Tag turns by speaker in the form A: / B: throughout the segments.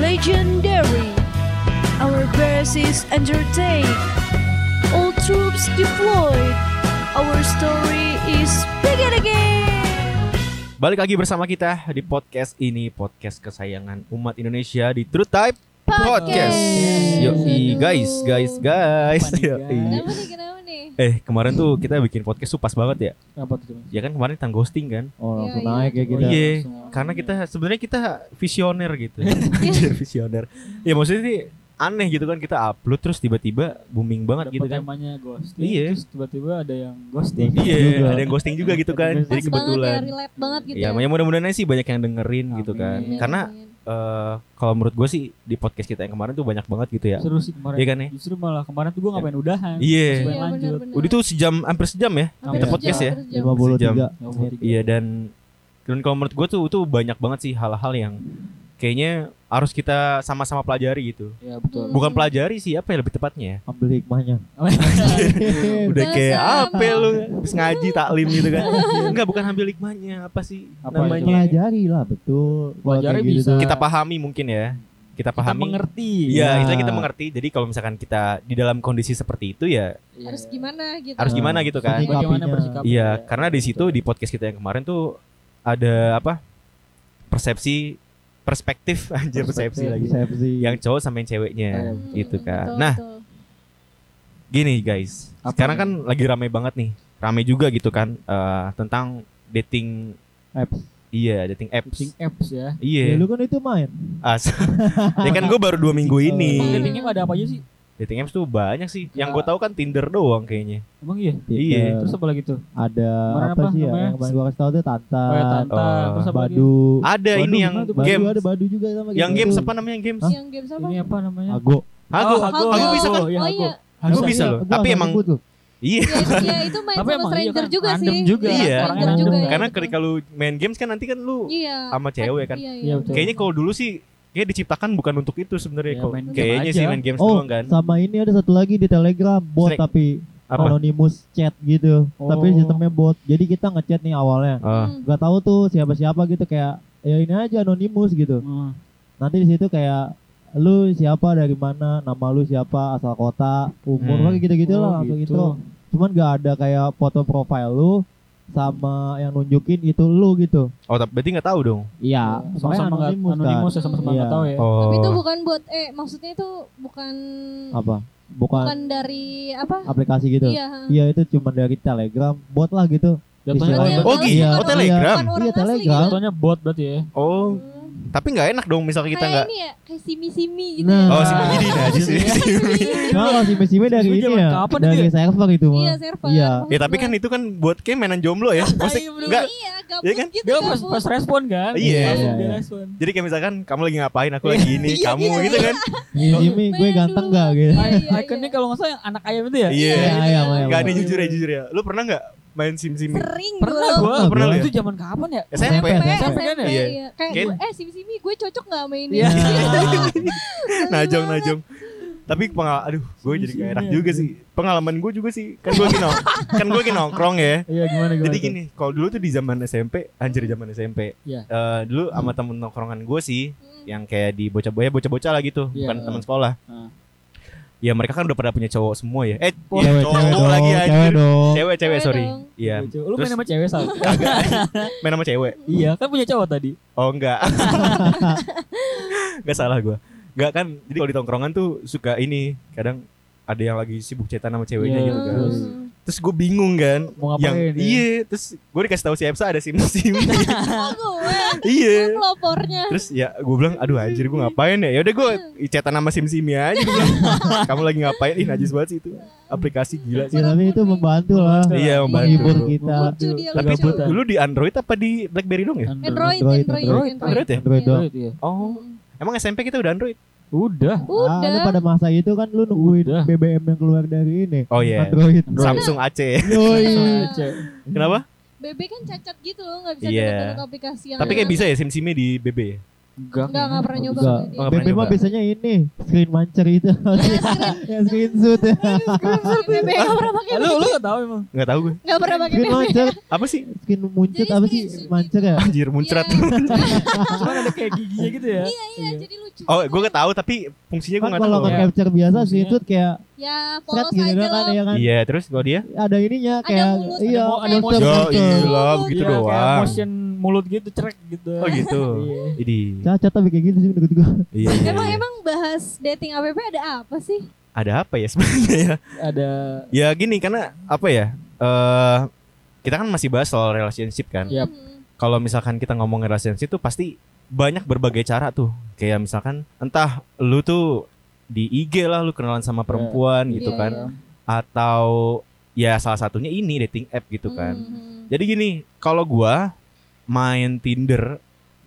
A: legendary. Our base is entertained. All troops deployed. Our story is begin again.
B: Balik lagi bersama kita di podcast ini Podcast kesayangan umat Indonesia di True Type Podcast Yoi guys, guys, guys
C: Apa nih,
B: Yoi.
C: guys?
D: Kenapa nih, kenapa nih?
B: Eh kemarin tuh kita bikin podcast tuh pas banget ya
C: Apa tuh? Mas?
B: Ya kan kemarin tentang ghosting kan
C: Oh, langsung
D: Iya, iya.
C: naik ya
B: Oh
C: kita.
B: Iya,
C: Langsung.
B: karena kita sebenarnya kita visioner gitu Anjir, Visioner Ya maksudnya sih aneh gitu kan kita upload terus tiba-tiba booming banget
C: Dapet
B: gitu kan
C: temanya ghosting.
B: Iya.
C: Terus tiba-tiba ada yang ghosting.
B: Iya, ada yang ghosting juga gitu kan.
C: Ghosting.
B: Jadi
D: Pas banget
B: kebetulan.
D: ya, relate banget gitu
B: Ya, ya mudah-mudahan sih banyak yang dengerin gitu
C: Amin.
B: kan
C: Amin.
B: Karena eh, kalau menurut gue sih di podcast kita yang kemarin tuh banyak banget gitu ya
C: Seru sih kemarin.
B: Iya kan ya?
C: Justru malah kemarin tuh gue ngapain udahan.
B: Iya.
C: Terus pengen lanjut.
B: Udah tuh sejam hampir sejam ya.
C: kita
B: podcast ya?
D: Iya,
E: lima puluh tiga
B: Iya dan dan kalau menurut gue tuh itu banyak banget sih hal-hal yang kayaknya harus kita sama-sama pelajari gitu.
C: Iya betul. ya?
B: Bukan pelajari sih apa ya lebih tepatnya.
E: ambil hikmahnya
C: Iya.
B: Udah kayak
D: Sama.
B: apa ya lu habis ngaji taklim gitu kan. Enggak bukan ambil hikmahnya apa sih
C: Apa itu?
B: namanya?
E: pelajari lah betul Kalau
C: Pelajari
E: kayak gitu
C: bisa.
E: tuh.
B: Kita pahami mungkin ya. Kita
C: Kita
B: pahami.
C: mengerti.
E: Ya.
B: Iya, itu kita mengerti. Jadi kalau misalkan kita di dalam kondisi seperti itu ya
C: Iya.
D: Harus gimana gitu.
B: harus gimana gitu kan.
E: Sikapinya.
C: Bagaimana bersikap?
B: Iya, karena di situ di podcast kita yang kemarin tuh ada apa? Persepsi perspektif anjir persepsi lagi.
E: persepsi
B: Yang cowok sama yang ceweknya
C: Hmm,
B: gitu kan.
D: Betul,
B: Nah,
D: betul.
B: gini guys.
C: Apa?
B: Sekarang kan lagi rame banget nih. Rame juga gitu kan eh, tentang dating
E: apps
B: iya, dating
C: dating
B: apps.
C: apps ya.
E: ya,
B: Iya.
E: lu kan itu main
B: As. ya kan gue baru dua minggu ini.
C: Dating app ada apa aja sih?
B: Dating apps tuh banyak sih. Yang gue
C: Enggak.
B: tahu kan Tinder doang kayaknya.
C: Emang iya.
B: Iya.
C: Terus apa lagi tuh?
E: ada
C: Kemarin
E: apa,
C: apa
E: sih ya
C: namanya?
E: yang kemarin gua kasih tau tuh tanta
C: Kayak tanta,
B: Oh,
C: terus apa lagi?
E: badu
B: Ada
E: Badu
B: ini yang
C: gimana tuh?
E: badu
B: game.
E: ada badu juga sama
B: Yang
E: gitu.
B: games apa namanya yang games?
D: Yang game apa?
C: Ini apa namanya?
E: ago
B: Hago.
C: Oh, Hago.
B: Hago bisa kan?
C: Oh, iya,
D: Oh
C: Hago.
D: iya,
B: Hago bisa loh. Tapi emang iya.
D: ya, itu- ya, itu main
C: Tapi
D: sama
C: emang iya
D: stranger
C: kan,
D: juga
C: random
D: sih.
C: juga.
D: Iya,
C: Iya,
D: stranger
C: orang
D: juga.
C: random.
D: ya,
B: Karena
D: betul.
B: ketika lu main games kan nanti kan lu
D: Iya.
B: sama cewek kan.
D: Iya,
C: Iya,
D: iya.
C: betul.
B: Kayaknya kalau dulu sih kayak diciptakan bukan untuk itu sebenarnya
C: Ya,
B: kok.
C: main game
B: Kayaknya
C: aja.
B: sih main games
E: Oh,
B: doang kan.
E: sama ini ada satu lagi di Telegram bot
B: Snack.
E: tapi
B: Apa?
E: anonymous chat gitu.
C: Oh.
E: Tapi sistemnya bot. Jadi kita ngechat nih awalnya.
B: Ah.
D: Hmm.
E: Gak tahu tuh siapa-siapa gitu kayak ya ini aja anonymous gitu.
C: Hmm.
E: nanti di situ kayak lu siapa dari mana nama lu siapa asal kota umur
B: Hmm.
E: kayak gitu gitu
C: Oh,
E: lah langsung
C: gitu.
E: intro cuman gak ada kayak foto profile lu sama yang nunjukin itu lu gitu
B: Oh, tapi berarti nggak tahu dong.
E: iya soalnya
C: sama-sama nggak
E: anonimus kan
C: anonimus ya sama-sama nggak
E: Iya.
C: tahu ya.
B: Oh.
D: Tapi itu bukan buat eh maksudnya itu bukan
E: apa bukan,
D: bukan dari apa?
E: aplikasi gitu
D: Iya.
E: iya itu cuman dari telegram bot lah gitu
C: Jatuhnya kan
E: Jatuhnya
C: bot.
B: Oh, gitu.
E: Iya.
B: Oh, Telegram.
D: Bukan orang
E: Iya,
D: asli
E: Telegram.
D: gitu.
C: Jatuhnya bot berarti ya.
B: Oh, tapi nggak enak dong misal kita
D: kayak
B: nggak.
D: ini ya kayak simi-simi gitu
E: Nah.
B: Oh,
C: Ah.
B: si Midi nah, di sini.
E: nah kalau si mesime dari
C: Simi
E: ini
C: zaman
E: ya
C: kapan
E: dari
C: itu
E: server itu
D: iya
E: mah
D: server
E: Iya.
D: Maksud
B: Ya tapi
D: gua.
B: kan itu kan buat kayak mainan jomblo ya. Maksudnya
C: Ayo, bener.
B: nggak.
D: iya gabut
B: Iya kan?
D: gitu
C: Dia pas,
D: gabut
C: pas respon kan?
B: Iya.
C: Langsung
E: Iya,
C: dia
E: iya.
C: respon.
B: Jadi kayak misalkan kamu lagi ngapain, aku lagi ini, kamu gitu kan.
E: mesime gue
D: Mainan
E: ganteng
D: dulu.
E: gak gitu
D: Iya, iya,
C: Ikonnya
D: iya.
C: kalau nggak salah yang anak ayam itu ya.
B: Iya.
E: Iya, iya, iya,
B: Enggak nih
E: iya.
B: jujur ya, jujur ya. Lu pernah nggak main sim-sim?
D: sering
C: Pernah
D: gua.
C: gua.
B: Pernah lu ya?
C: Itu zaman kapan ya?
B: SMP.
E: SMP.
C: SMP kan ya?
B: Iya.
D: iya. kayak
B: Kayak-
D: gua, eh simi-simi gue cocok gak main
C: Iya.
D: ini
B: Najong, najong. Tapi pengal aduh, gue jadi gak enak juga sih. Pengalaman gue juga sih. Kan gue gini, kan gue gini nongkrong ya.
C: Iya gimana gimana.
B: Jadi
C: tuh?
B: gini, kalau dulu tuh di zaman SMP, anjir zaman SMP.
C: Iya.
B: Eh, dulu sama temen nongkrongan gue sih,
D: Hmm.
B: yang kayak di bocah-bocah bocah-bocah lah gitu,
C: Iya.
B: bukan teman sekolah.
C: Ah.
B: Ya mereka kan udah pada punya cowok semua ya. Eh,
C: Cewek,
B: iya, cowok lagi
E: cewek
B: anjir.
E: dong
B: Cewek, cewek,
D: Cewek
B: sorry.
D: dong.
B: Iya,
C: Lucu. Lu main
B: Terus-
C: sama cewek Sal?
B: main sama cewek.
C: Iya, kan punya cowok tadi.
B: Oh enggak. enggak salah gue. Enggak kan, jadi kalau di tongkrongan tuh suka ini, kadang ada yang lagi sibuk cetan sama ceweknya
C: Iya,
B: gitu kan.
C: terus.
B: Terus gue bingung kan.
C: Mau
B: yang
C: ngapain? ya?
B: iya, terus gue dikasih tahu si Epsa ada sim-sim.
D: oh gue
B: iya.
D: pelopornya
B: Terus ya gue bilang aduh anjir gue ngapain ya. Ya udah gue chatan sama Sim Simi aja. Gua bilang, Kamu lagi ngapain? Ih najis banget sih itu. Aplikasi gila sih.
E: Ya, tapi itu membantu lah
B: Iya, membantu. Iya.
E: menghibur kita
D: Lucu dia,
B: Tapi
C: ah.
D: lucu.
B: dulu, dulu di Android apa di BlackBerry dong ya?
D: Android,
E: Android,
D: Android,
E: Android.
B: Android ya?
E: Android doang.
C: ya.
B: Oh, emang SMP kita udah Android.
E: Ah,
C: Udah.
E: lu
D: Udah,
E: pada masa itu kan lu nungguin
C: Udah.
E: BBM yang keluar dari ini.
B: Oh iya.
E: Android.
C: Android. Hmm.
B: Samsung AC.
E: Yoi.
D: Iya.
B: Kenapa?
D: BB kan cacat gitu loh, gak bisa
B: Iya.
D: download aplikasi yang
C: Iya.
B: Tapi kayak bisa ya Sim Simi di BB ya?
C: Enggak.
D: Enggak, enggak pernah nyoba
E: Enggak.
D: sama dia.
B: Nggak pernah
E: BB mah
B: nyoba.
E: biasanya ini screen mancer itu. ya, screen shoot ya.
D: BB enggak pernah pakai
C: Lu lu gak tahu emang.
B: Nggak tahu gue.
D: enggak pernah pakai
E: Screen
D: BB.
E: mancer,
B: Apa sih?
E: screen muncrat
D: Jadi
E: apa
D: screen
E: sih?
D: shoot
E: Mancer ya?
B: Anjir muncrat.
C: Cuman ada kayak giginya gitu ya.
D: Iya, iya, jadi lucu.
B: oh, gue nggak tahu tapi fungsinya gue
E: Kan
B: nggak
E: kalau
B: tahu.
E: nge capture biasa screen
C: Maksudnya-
E: shoot kayak
D: Ya,
E: thread
D: Iya. polos
E: gitu
D: aja
E: kan
D: loh.
E: ya kan.
B: Iya, terus kalau dia? Ya
E: Ada ininya
D: Ada
E: kayak
D: mulut,
E: iya,
C: ada mo- ada
E: monster,
D: motion.
E: monster.
D: iya.
B: ilah,
C: Iya, Kayak motion mulut gitu cerek gitu.
B: Gitu Oh gitu.
C: Iya.
B: Jadi.
E: Cacat tapi kayak gitu sih menurut gua.
B: Iya. iya,
D: Emang
B: iya.
D: emang bahas dating APP ada apa sih?
B: Ada apa ya sebenarnya ya?
C: Ada
B: Ya gini karena apa ya? Eh kita kan masih bahas soal relationship kan.
C: Yap.
D: Hmm.
B: Kalau misalkan kita ngomongin relationship tuh pasti banyak berbagai cara tuh. Kayak misalkan entah lu tuh di IG lah lu kenalan sama perempuan gitu
D: Iya,
B: kan
D: iya.
B: atau ya salah satunya ini dating app gitu kan.
D: Hmm.
B: Jadi gini, kalau gua main Tinder,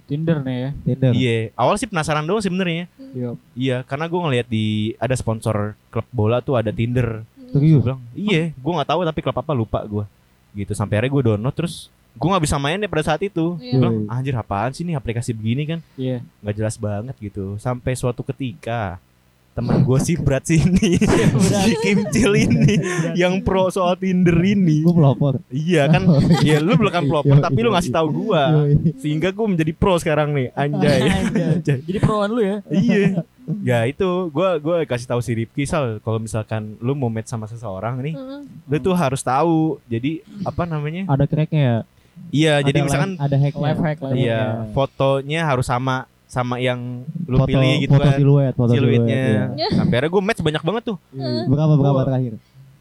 C: Tinder nih ya.
E: Tinder.
B: iya. Awal sih penasaran doang sebenarnya.
C: Iya.
B: Iya, karena gua ngeliat di ada sponsor klub bola tuh ada Tinder. Gua
E: Serius.
B: bilang, iya, gua nggak tahu tapi klub apa lupa gua. Gitu sampai akhirnya gua download terus gua nggak bisa main deh pada saat itu.
D: Iya.
B: Gua bilang, anjir apaan sih nih aplikasi begini kan?
C: Iya.
B: nggak jelas banget gitu. Sampai suatu ketika teman gua si Brad sini, si Kimcil ini yang pro soal Tinder ini.
E: Gua pelopor.
B: Iya kan, ya lu belum kan
E: Yoi,
B: pelopor tapi lu ngasih tahu gua.
E: Yoi.
B: Sehingga gue menjadi pro sekarang nih, anjay. Anjay.
C: Jadi peruan lu ya.
B: iya. Ya itu, gua gua kasih tahu si Ripki Sal kalau misalkan lu mau match sama seseorang nih,
D: Heeh.
B: lu tuh harus tahu. Jadi apa namanya?
E: Ada cracknya ya?
B: Iya,
E: Ada
B: jadi misalkan
E: line- ada hacknya.
C: Life hack lah.
B: iya, fotonya harus sama sama yang lu
E: Foto-
B: pilih gitu
E: foto
B: kan.
E: siluet, foto
B: siluetnya.
E: siluet, iya.
B: Sampai akhirnya gue match banyak banget tuh.
C: Iya.
E: Berapa berapa
B: Gua-
E: terakhir?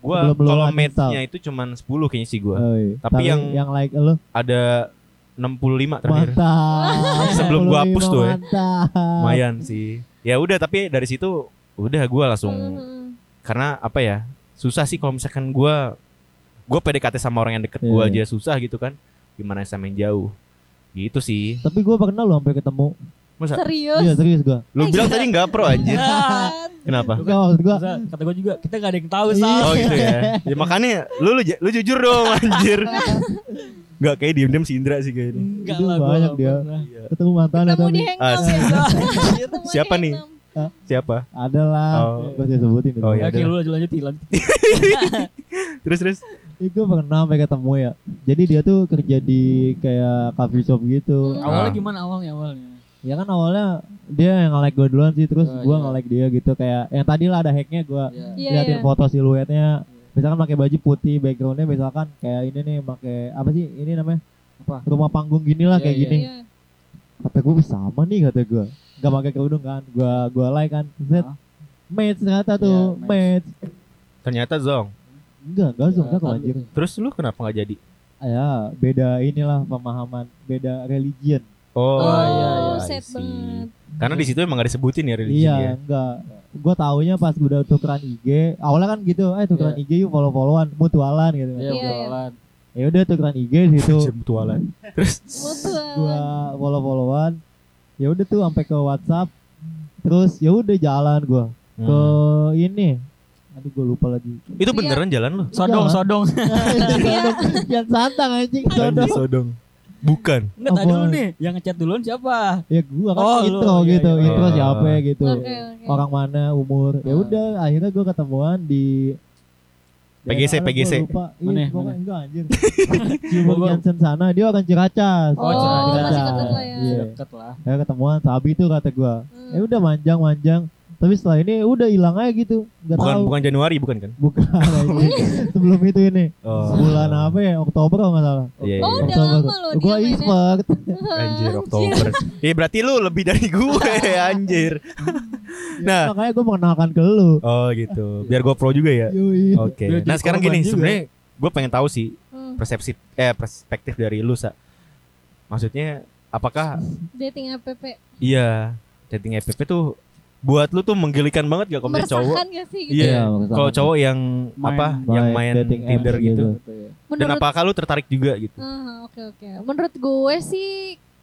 B: Gue
E: Belum- belum
B: kalau
E: uninstall.
B: matchnya itu cuman 10 kayaknya sih gue.
E: Yoi.
B: Tapi yang-
E: yang like lu
B: Ada 65 terakhir.
E: Mantap.
B: Sebelum gua hapus tuh ya.
E: Mantap.
B: Lumayan sih. Ya udah tapi dari situ udah gue langsung
D: Heeh.
B: karena apa ya susah sih kalau misalkan gue gue PDKT sama orang yang deket gue
E: Iya,
B: aja susah gitu kan. Gimana sama yang jauh. Gitu sih.
E: Tapi gua pernah lu sampai ketemu.
B: Masa
D: Serius?
E: Iya serius gua.
B: lu bilang tadi nggak pro anjir.
D: Kan?
B: Kenapa?
E: Enggak maksud gua.
C: Sa, kata gue juga kita gak ada yang tahu
E: Iya.
C: sal.
B: Oh gitu ya. Ya makanya lu lu, lu jujur dong anjir. Gak kayak diem-diem si Indra sih kayaknya.
C: Enggak
E: Itu
C: lah gua
E: banyak
C: nggak
E: dia. Oh,
C: pernah.
B: Iya.
E: Ketemu mantan
D: Ketemu di
E: tapi
D: hangout
B: As-
D: ya. Ketemu di
B: Siapa nih?
D: hangout.
B: Siapa?
E: ada lah.
B: Oh.
E: Gua sih sebutin itu.
B: Oh, iya.
C: Oke
B: udah.
C: lu lanjut lanjut lanjut.
B: Terus terus.
E: Ih, gua pernah sampai ketemu ya. Jadi dia tuh kerja di kayak coffee shop gitu.
D: Hmm.
C: Awalnya gimana awalnya awalnya?
E: Ya kan awalnya dia yang nge-like gua duluan sih terus
C: Oh,
E: gua
C: iya.
E: nge-like dia gitu kayak yang tadi lah ada hacknya gua
C: Iya.
D: Iya,
E: liatin
D: iya.
E: foto siluetnya misalkan pakai baju putih backgroundnya misalkan kayak ini nih pakai apa sih ini namanya
C: Apa?
E: rumah panggung gini lah
C: Iya,
E: kayak
C: iya.
E: gini
D: Iya.
E: kata gue sama nih kata gue nggak pakai kerudung kan gue gue like kan set
C: Hah?
E: match ternyata tuh
C: Iya,
E: match
B: Ternyata Zong.
E: enggak enggak langsung
C: Iya,
E: enggak
C: tahu.
E: anjir
B: Terus lu kenapa nggak jadi?
E: ya beda inilah pemahaman beda religion
B: Oh,
D: Oh,
C: iya, iya,
D: set banget.
B: Karena di situ emang gak disebutin ya religi
E: iya
B: ya.
E: enggak gue taunya pas gue udah tukeran IG awalnya kan gitu eh tukeran IG yuk follow followan mutualan gitu
C: Iya,
D: Iya, iya.
C: jualan.
E: ya udah tukeran IG di situ
B: Jemtualan. Terus
D: Mutual.
E: gua follow followan ya udah tuh sampai ke WhatsApp terus ya udah jalan gua ke ini aduh gua lupa lagi
B: Hmm. itu beneran jalan lu?
E: Iya.
C: Sodong sodong.
E: yang santang anjing
B: Anjir,
E: sodok
B: Sodong. Bukan.
C: Enggak tadi
E: Apa?
C: dulu nih yang ngechat duluan siapa?
E: ya gua kan
C: Oh, lu,
E: intro
C: iya,
E: gitu
C: iya,
B: iya.
E: intro siapa ya gitu
D: Oke, oke.
E: orang mana umur ya
C: Ah.
E: udah akhirnya gua ketemuan di
B: PGC,
E: daerah, gua
B: PGC.
E: lupa
C: Mana,
E: iya
C: mana?
E: pokoknya enggak anjir Gilbert Johnson sana dia orang Ciracas
D: Oh,
C: masih
D: deket lah ya.
E: Iya.
C: Deket lah.
E: ya ketemuan sabi tuh kata gua
D: Hmm.
E: ya udah manjang manjang tapi setelah ini udah hilang aja gitu nggak
B: Bukan
E: tahu
B: bukan Januari bukan kan?
E: bukan anjing. sebelum itu ini
B: Oh.
E: bulan apa ya Oktober kalau nggak salah
B: Iya,
D: Oh,
B: iya.
D: udah lama loh dia
E: gue
D: mainnya.
E: expert
B: Anjir Oktober. Iya berarti lu lebih dari gue anjir. Nah.
E: makanya gue mengenalkan ke lu
B: Oh gitu. Biar gue pro juga ya.
E: Yui.
B: Oke.
C: Biar
B: Nah
C: jadi
B: sekarang
C: korban
B: gini
C: juga.
B: sebenarnya gue pengen tahu sih
D: Hmm.
B: persepsi eh perspektif dari lu sa. Maksudnya apakah
D: Dating APP.
B: iya dating app tuh buat lu tuh menggelikan banget gak kalau misalnya cowok
D: Meresahkan gak sih gitu?
B: Iya.
E: maksudnya.
B: kalau cowok yang
C: Main-
B: apa yang main
E: dating apps
B: Tinder gitu.
C: ya.
B: Dan
D: Menurut
B: apakah lu tertarik juga gitu?
D: Ah, oke oke. Menurut gue sih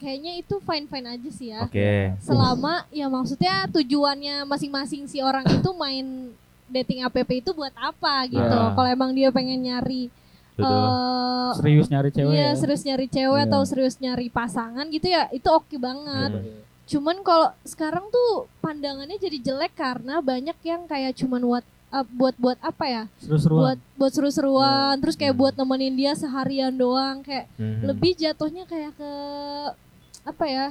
D: kayaknya itu fine-fine aja sih ya.
B: Oke.
D: Selama ya maksudnya tujuannya masing-masing si orang itu main dating app itu buat apa gitu.
B: Ah.
D: Kalau emang dia pengen nyari
B: Betul.
D: eh,
C: Serius nyari cewek.
D: Iya
C: ya.
D: serius nyari cewek
E: Iya.
B: Iya.
D: atau serius nyari pasangan gitu ya itu oke banget. Cuman kalau sekarang tuh pandangannya jadi jelek karena banyak yang kayak cuman buat eh, buat buat apa ya?
C: Seru-seruan.
D: Buat buat
C: Iya.
D: seru-seruan, terus kayak buat nemenin dia seharian doang kayak
B: Mhm.
D: lebih jatuhnya kayak ke apa ya?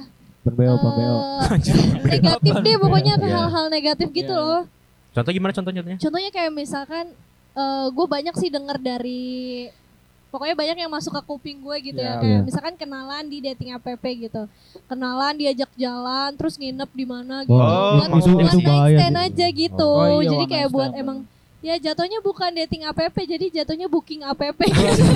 E: Pembeo,
D: eh,
E: pembeo.
D: negatif deh pokoknya ke
B: Iya.
D: hal-hal negatif gitu
C: Iya.
D: loh.
B: Contoh gimana contohnya? contohnya?
D: Contohnya kayak misalkan gue banyak sih denger dari pokoknya banyak yang masuk ke kuping gue gitu
C: Iya.
D: ya kayak
E: Iya.
D: misalkan kenalan di dating app gitu. Kenalan diajak jalan terus nginep di mana gitu.
E: Wah,
D: buat
E: itu
D: buat
E: itu
D: night
E: bahaya.
D: stand
E: sih.
D: aja gitu.
C: Oh, iya,
D: jadi
C: one
D: kayak
C: night
D: buat
C: stand.
D: emang ya jatuhnya bukan dating app jadi jatuhnya booking app.
C: ya?
B: BO.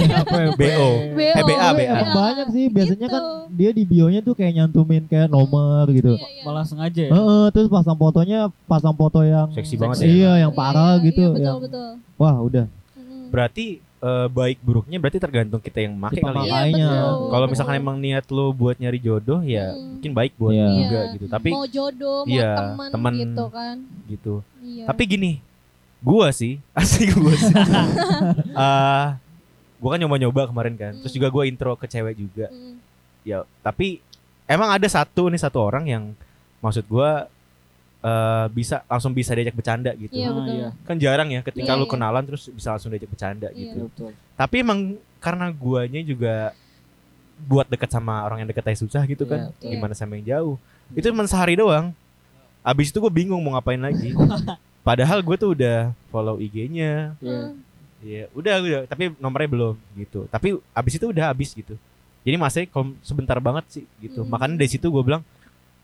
B: Eh, BA,
E: Tapi
B: BA.
E: emang ya? banyak sih biasanya
D: gitu.
E: kan dia di bionya tuh kayak nyantumin kayak nomor gitu.
D: Iya, iya.
C: Malah sengaja ya.
E: Heeh, terus pasang fotonya pasang foto yang
B: Seksi banget ya.
E: Iya, yang
D: Iya,
E: parah
D: iya,
E: gitu.
D: Iya, betul
E: yang-
D: betul.
E: Wah, udah.
D: Mm.
B: Berarti eh, baik buruknya berarti tergantung kita yang make
E: Kita
B: kali
E: pakai.
B: ya.
D: Iya,
E: makanya.
D: betul,
B: Kalau misalkan
D: betul.
B: emang niat lo buat nyari jodoh ya
D: Mm.
B: mungkin baik buat
E: Iya.
B: lo juga
D: Iya.
B: gitu. Tapi
D: mau jodoh, mau
B: iya,
D: teman,
B: teman.
D: gitu kan.
B: gitu.
D: Iya.
B: Tapi gini, gua sih, asli gua sih. Ah, gua kan nyoba-nyoba kemarin kan. Terus
D: Hmm.
B: juga gua intro ke cewek juga.
D: Mm.
B: Ya, tapi emang ada satu nih satu orang yang maksud gua eh bisa langsung bisa diajak bercanda gitu.
D: Iya,
C: Ah,
D: betul.
C: iya.
B: Kan jarang ya ketika
D: Iya,
B: lu
D: iya.
B: kenalan terus bisa langsung diajak bercanda
D: Iya.
B: gitu.
C: Betul.
B: Tapi emang karena guanya juga buat deket sama orang yang deket aja susah gitu kan.
D: Iya.
B: Gimana sama yang jauh. Itu cuma sehari doang. Abis itu gue bingung mau ngapain lagi. Padahal gue tuh udah follow IG-nya.
C: Iya.
B: Ya, udah udah, tapi nomornya belum gitu. Tapi abis itu udah habis gitu. Jadi masih kom- sebentar banget sih gitu.
D: Hmm.
B: Makanya dari situ gue bilang,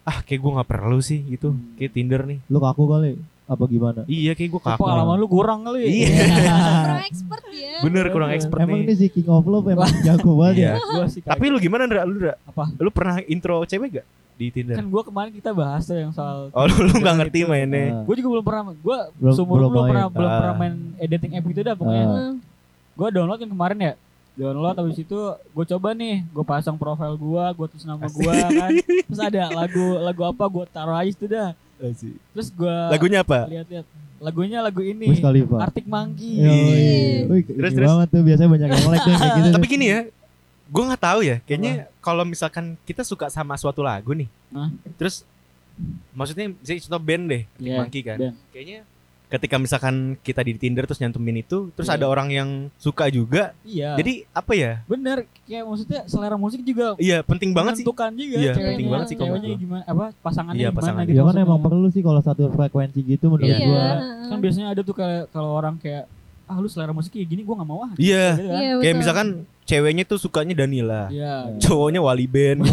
B: ah kayak gue nggak perlu sih gitu.
C: Hmm.
B: Kayak Tinder nih.
E: Lu kaku kali apa gimana?
B: Iya kayak gue
C: Apa
B: kaku.
C: pengalaman lu kurang kali. ya?
B: Iya.
D: Kurang expert ya.
B: Bener kurang expert
E: Emang
B: nih.
E: ini si King of Love emang jago banget. ya?
B: Iya.
C: Gua sih
B: Tapi
C: kaget.
B: lu gimana Ndra? Lu, Ndra?
C: Apa?
B: Lu pernah intro cewek gak di Tinder?
C: kan gua kemarin kita bahas tuh yang soal
B: Oh lu, lu gak ngerti
E: Nah,
B: mainnya.
C: Gue juga belum pernah, gue
E: Belum-
C: seumur
E: belum
C: belum, belum
E: main.
C: pernah belum
B: Ah.
C: pernah main eh, dating app gitu dah pokoknya.
E: Ah.
D: Hmm.
C: Gue download yang kemarin ya, download habis itu gue coba nih, gue pasang profil gue, gue tulis nama gue kan, terus ada lagu lagu apa gue taruh aja itu dah, terus gue
B: Oh, Lagunya apa?
C: lihat-lihat lagunya lagu
E: Wiz
C: ini,
E: Khalifa.
C: Arctic Monkey.
E: Iya.
D: Iya.
E: Yoi. Wih,
B: Terus,
E: ini
B: terus.
E: banget tuh biasanya banyak yang like deh, kayak gitu.
B: Tapi gini ya, gue nggak tahu ya. Kayaknya kalau misalkan kita suka sama suatu lagu nih,
C: Hah?
B: terus maksudnya misalnya contoh band deh,
C: Iya,
B: Monkey kan.
C: band.
B: Kayaknya ketika misalkan kita di Tinder terus nyantumin itu, terus
C: Iya.
B: ada orang yang suka juga.
C: Iya. Jadi
B: Jadi apa ya?
C: bener, kayak maksudnya selera musik juga
B: Iya penting banget sih.
C: menentukan juga
B: Iya,
C: ceweknya,
D: penting banget sih kalau
C: ceweknya
B: menurut
C: gimana apa pasangannya
B: Iya,
C: gimana
B: pasangannya.
E: Ya
C: gitu
E: kan emang
C: maksudnya.
E: perlu sih kalau satu frekuensi gitu menurut
D: Iya.
E: gua.
D: heeh.
C: kan biasanya ada tuh kayak kalau orang kayak ah lu selera musik kayak gini gue nggak mau ah
B: Iya.
C: gitu kan.
D: Iya,
B: Kayak
D: betul.
B: misalkan ceweknya tuh sukanya Danila,
C: Iya. Kan
B: cowoknya Wali Band.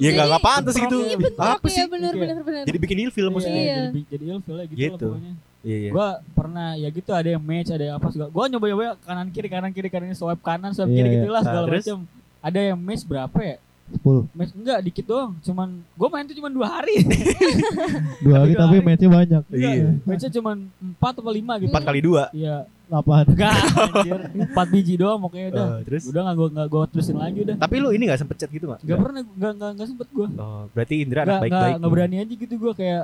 B: ya nggak nggak pantas gitu.
C: Iya,
B: Apa
D: Iya,
B: sih?
D: bener
C: Iya.
D: bener bener.
B: Jadi bikin ilfil
C: Iya,
B: maksudnya.
D: Iya.
C: jadi, jadi ilfil lah gitu,
B: Gitu.
C: lah pokoknya.
B: Iya iya.
C: Gua pernah ya gitu ada yang match, ada yang apa segala. Gua nyoba-nyoba kanan kiri kanan kiri kanan swipe kanan swipe
E: Iya,
C: kiri
E: iya.
C: gitulah
B: Nah,
C: segala
B: terus?
C: macam. Ada yang match berapa ya?
E: 10
C: Match enggak dikit doang, cuman gua main tuh cuman dua hari.
E: dua hari
C: dua
E: tapi
C: hari.
E: matchnya banyak.
B: Iya.
C: Matchnya cuman empat atau lima gitu.
B: Empat kali dua.
C: Iya,
E: Lapan.
C: enggak anjir. Empat biji doang pokoknya udah.
B: Eh, terus.
C: Udah enggak gua enggak gua terusin lagi udah.
B: Tapi lu ini gak sempet chat gitu gak?
C: Enggak pernah enggak enggak enggak sempet gua.
B: Oh, berarti Indra anak
C: Enggak enggak
B: baik-baik.
C: enggak berani aja gitu gua kayak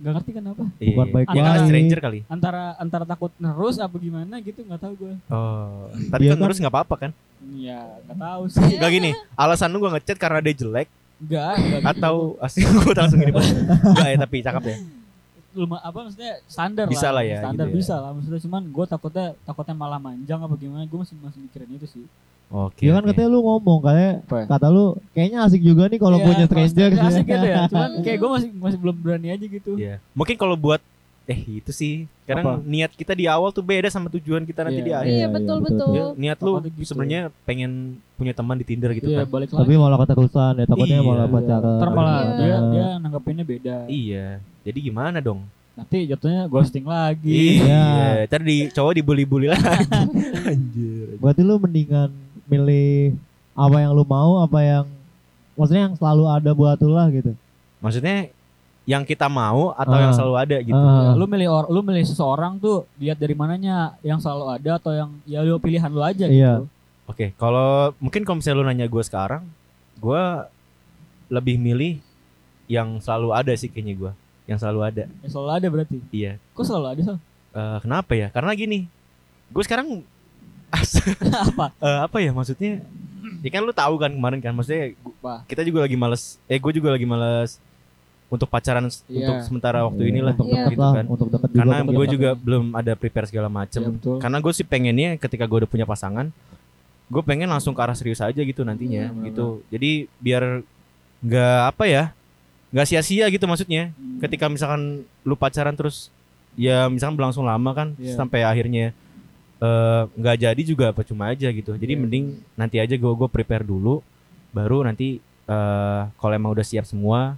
C: enggak ngerti kenapa.
B: Iya.
E: Bukan baik-baik.
B: Dia kan stranger kali.
C: Antara antara takut nerus apa gimana gitu enggak tahu gua.
B: Oh, tapi
E: Dia
B: kan
E: kan-
B: terus gak apa-apa kan?
C: Iya, enggak tahu sih.
B: Gak gini, alasan lu gak ngechat karena dia jelek
C: Enggak, enggak gitu.
B: atau asli gue langsung gini Pak. Enggak ya tapi cakep ya.
C: Luma- gitu. apa maksudnya standar
B: Bisa lah
C: lah
B: ya,
C: standar
B: gitu ya.
C: bisa lah maksudnya cuman gue takutnya takutnya malah manjang apa gimana gue masih masih mikirin itu sih
B: Oke.
E: Ya kan katanya lu ngomong kayak
C: Apa ya?
E: kata lu kayaknya asik juga nih kalau
C: Iya,
E: punya stranger
C: asik- asik gitu ya
E: sih.
C: cuman kayak gue masih masih belum berani aja gitu
B: Iya. Mungkin kalau buat eh itu sih. Kadang niat kita di awal tuh beda sama tujuan kita nanti
C: Iya.
B: di akhir.
E: Iya,
D: Iya betul
E: iya, betul.
D: betul.
B: Ya, niat lu
C: Takutnya gitu.
B: sebenarnya pengen punya teman di Tinder gitu
C: Iya,
B: kan.
C: balik lagi
E: Tapi malah keterusan ya takutnya
B: Iya.
E: malah pacaran.
C: ntar malah
D: Iya.
C: dia dia nanggapinnya beda
B: Iya. Jadi gimana dong?
C: nanti jatuhnya ghosting lagi
E: Iya.
B: Iya. Ntar di cowok dibully-bully lagi. Anjir.
E: Nah, Berarti lu mendingan milih apa yang lu mau, apa yang maksudnya yang selalu ada buat lu lah gitu.
B: Maksudnya yang kita mau atau yang
E: Ah.
B: selalu ada gitu.
E: Ah.
C: lu milih or, lu milih seseorang tuh lihat dari mananya yang selalu ada atau yang ya lu pilihan lu aja
E: Iya.
C: gitu
B: Oke, kalau mungkin kalau misalnya lu nanya gue sekarang, gue lebih milih yang selalu ada sih kayaknya gue, yang selalu ada.
C: yang selalu ada berarti
B: Iya.
C: kok selalu ada Sal?
B: Eh, kenapa ya? Karena gini, gue sekarang as-
C: apa
B: eh, apa ya maksudnya? Ya kan lu tahu kan kemarin kan maksudnya gu-
C: Bah.
B: kita juga lagi males eh gue juga lagi males untuk pacaran s-
C: Iya.
B: untuk sementara waktu
E: Iya,
B: inilah
E: untuk
D: Iya.
E: deket
B: gitu
E: lah,
B: kan.
E: untuk deket juga.
B: Karena
E: untuk
B: gue
E: deket.
B: juga belum ada prepare segala macem.
C: Iya, betul.
B: Karena gue sih pengennya ketika gue udah punya pasangan, gue pengen langsung ke arah serius aja gitu nantinya
C: Iya, benar-benar.
B: gitu. Jadi biar nggak apa ya, nggak sia-sia gitu maksudnya. Ketika misalkan lu pacaran terus ya misalkan berlangsung lama kan
C: Iya.
B: sampai akhirnya eh, nggak jadi juga percuma aja gitu. Jadi
C: Iya.
B: mending nanti aja gue gue prepare dulu, baru nanti eh kalau emang udah siap semua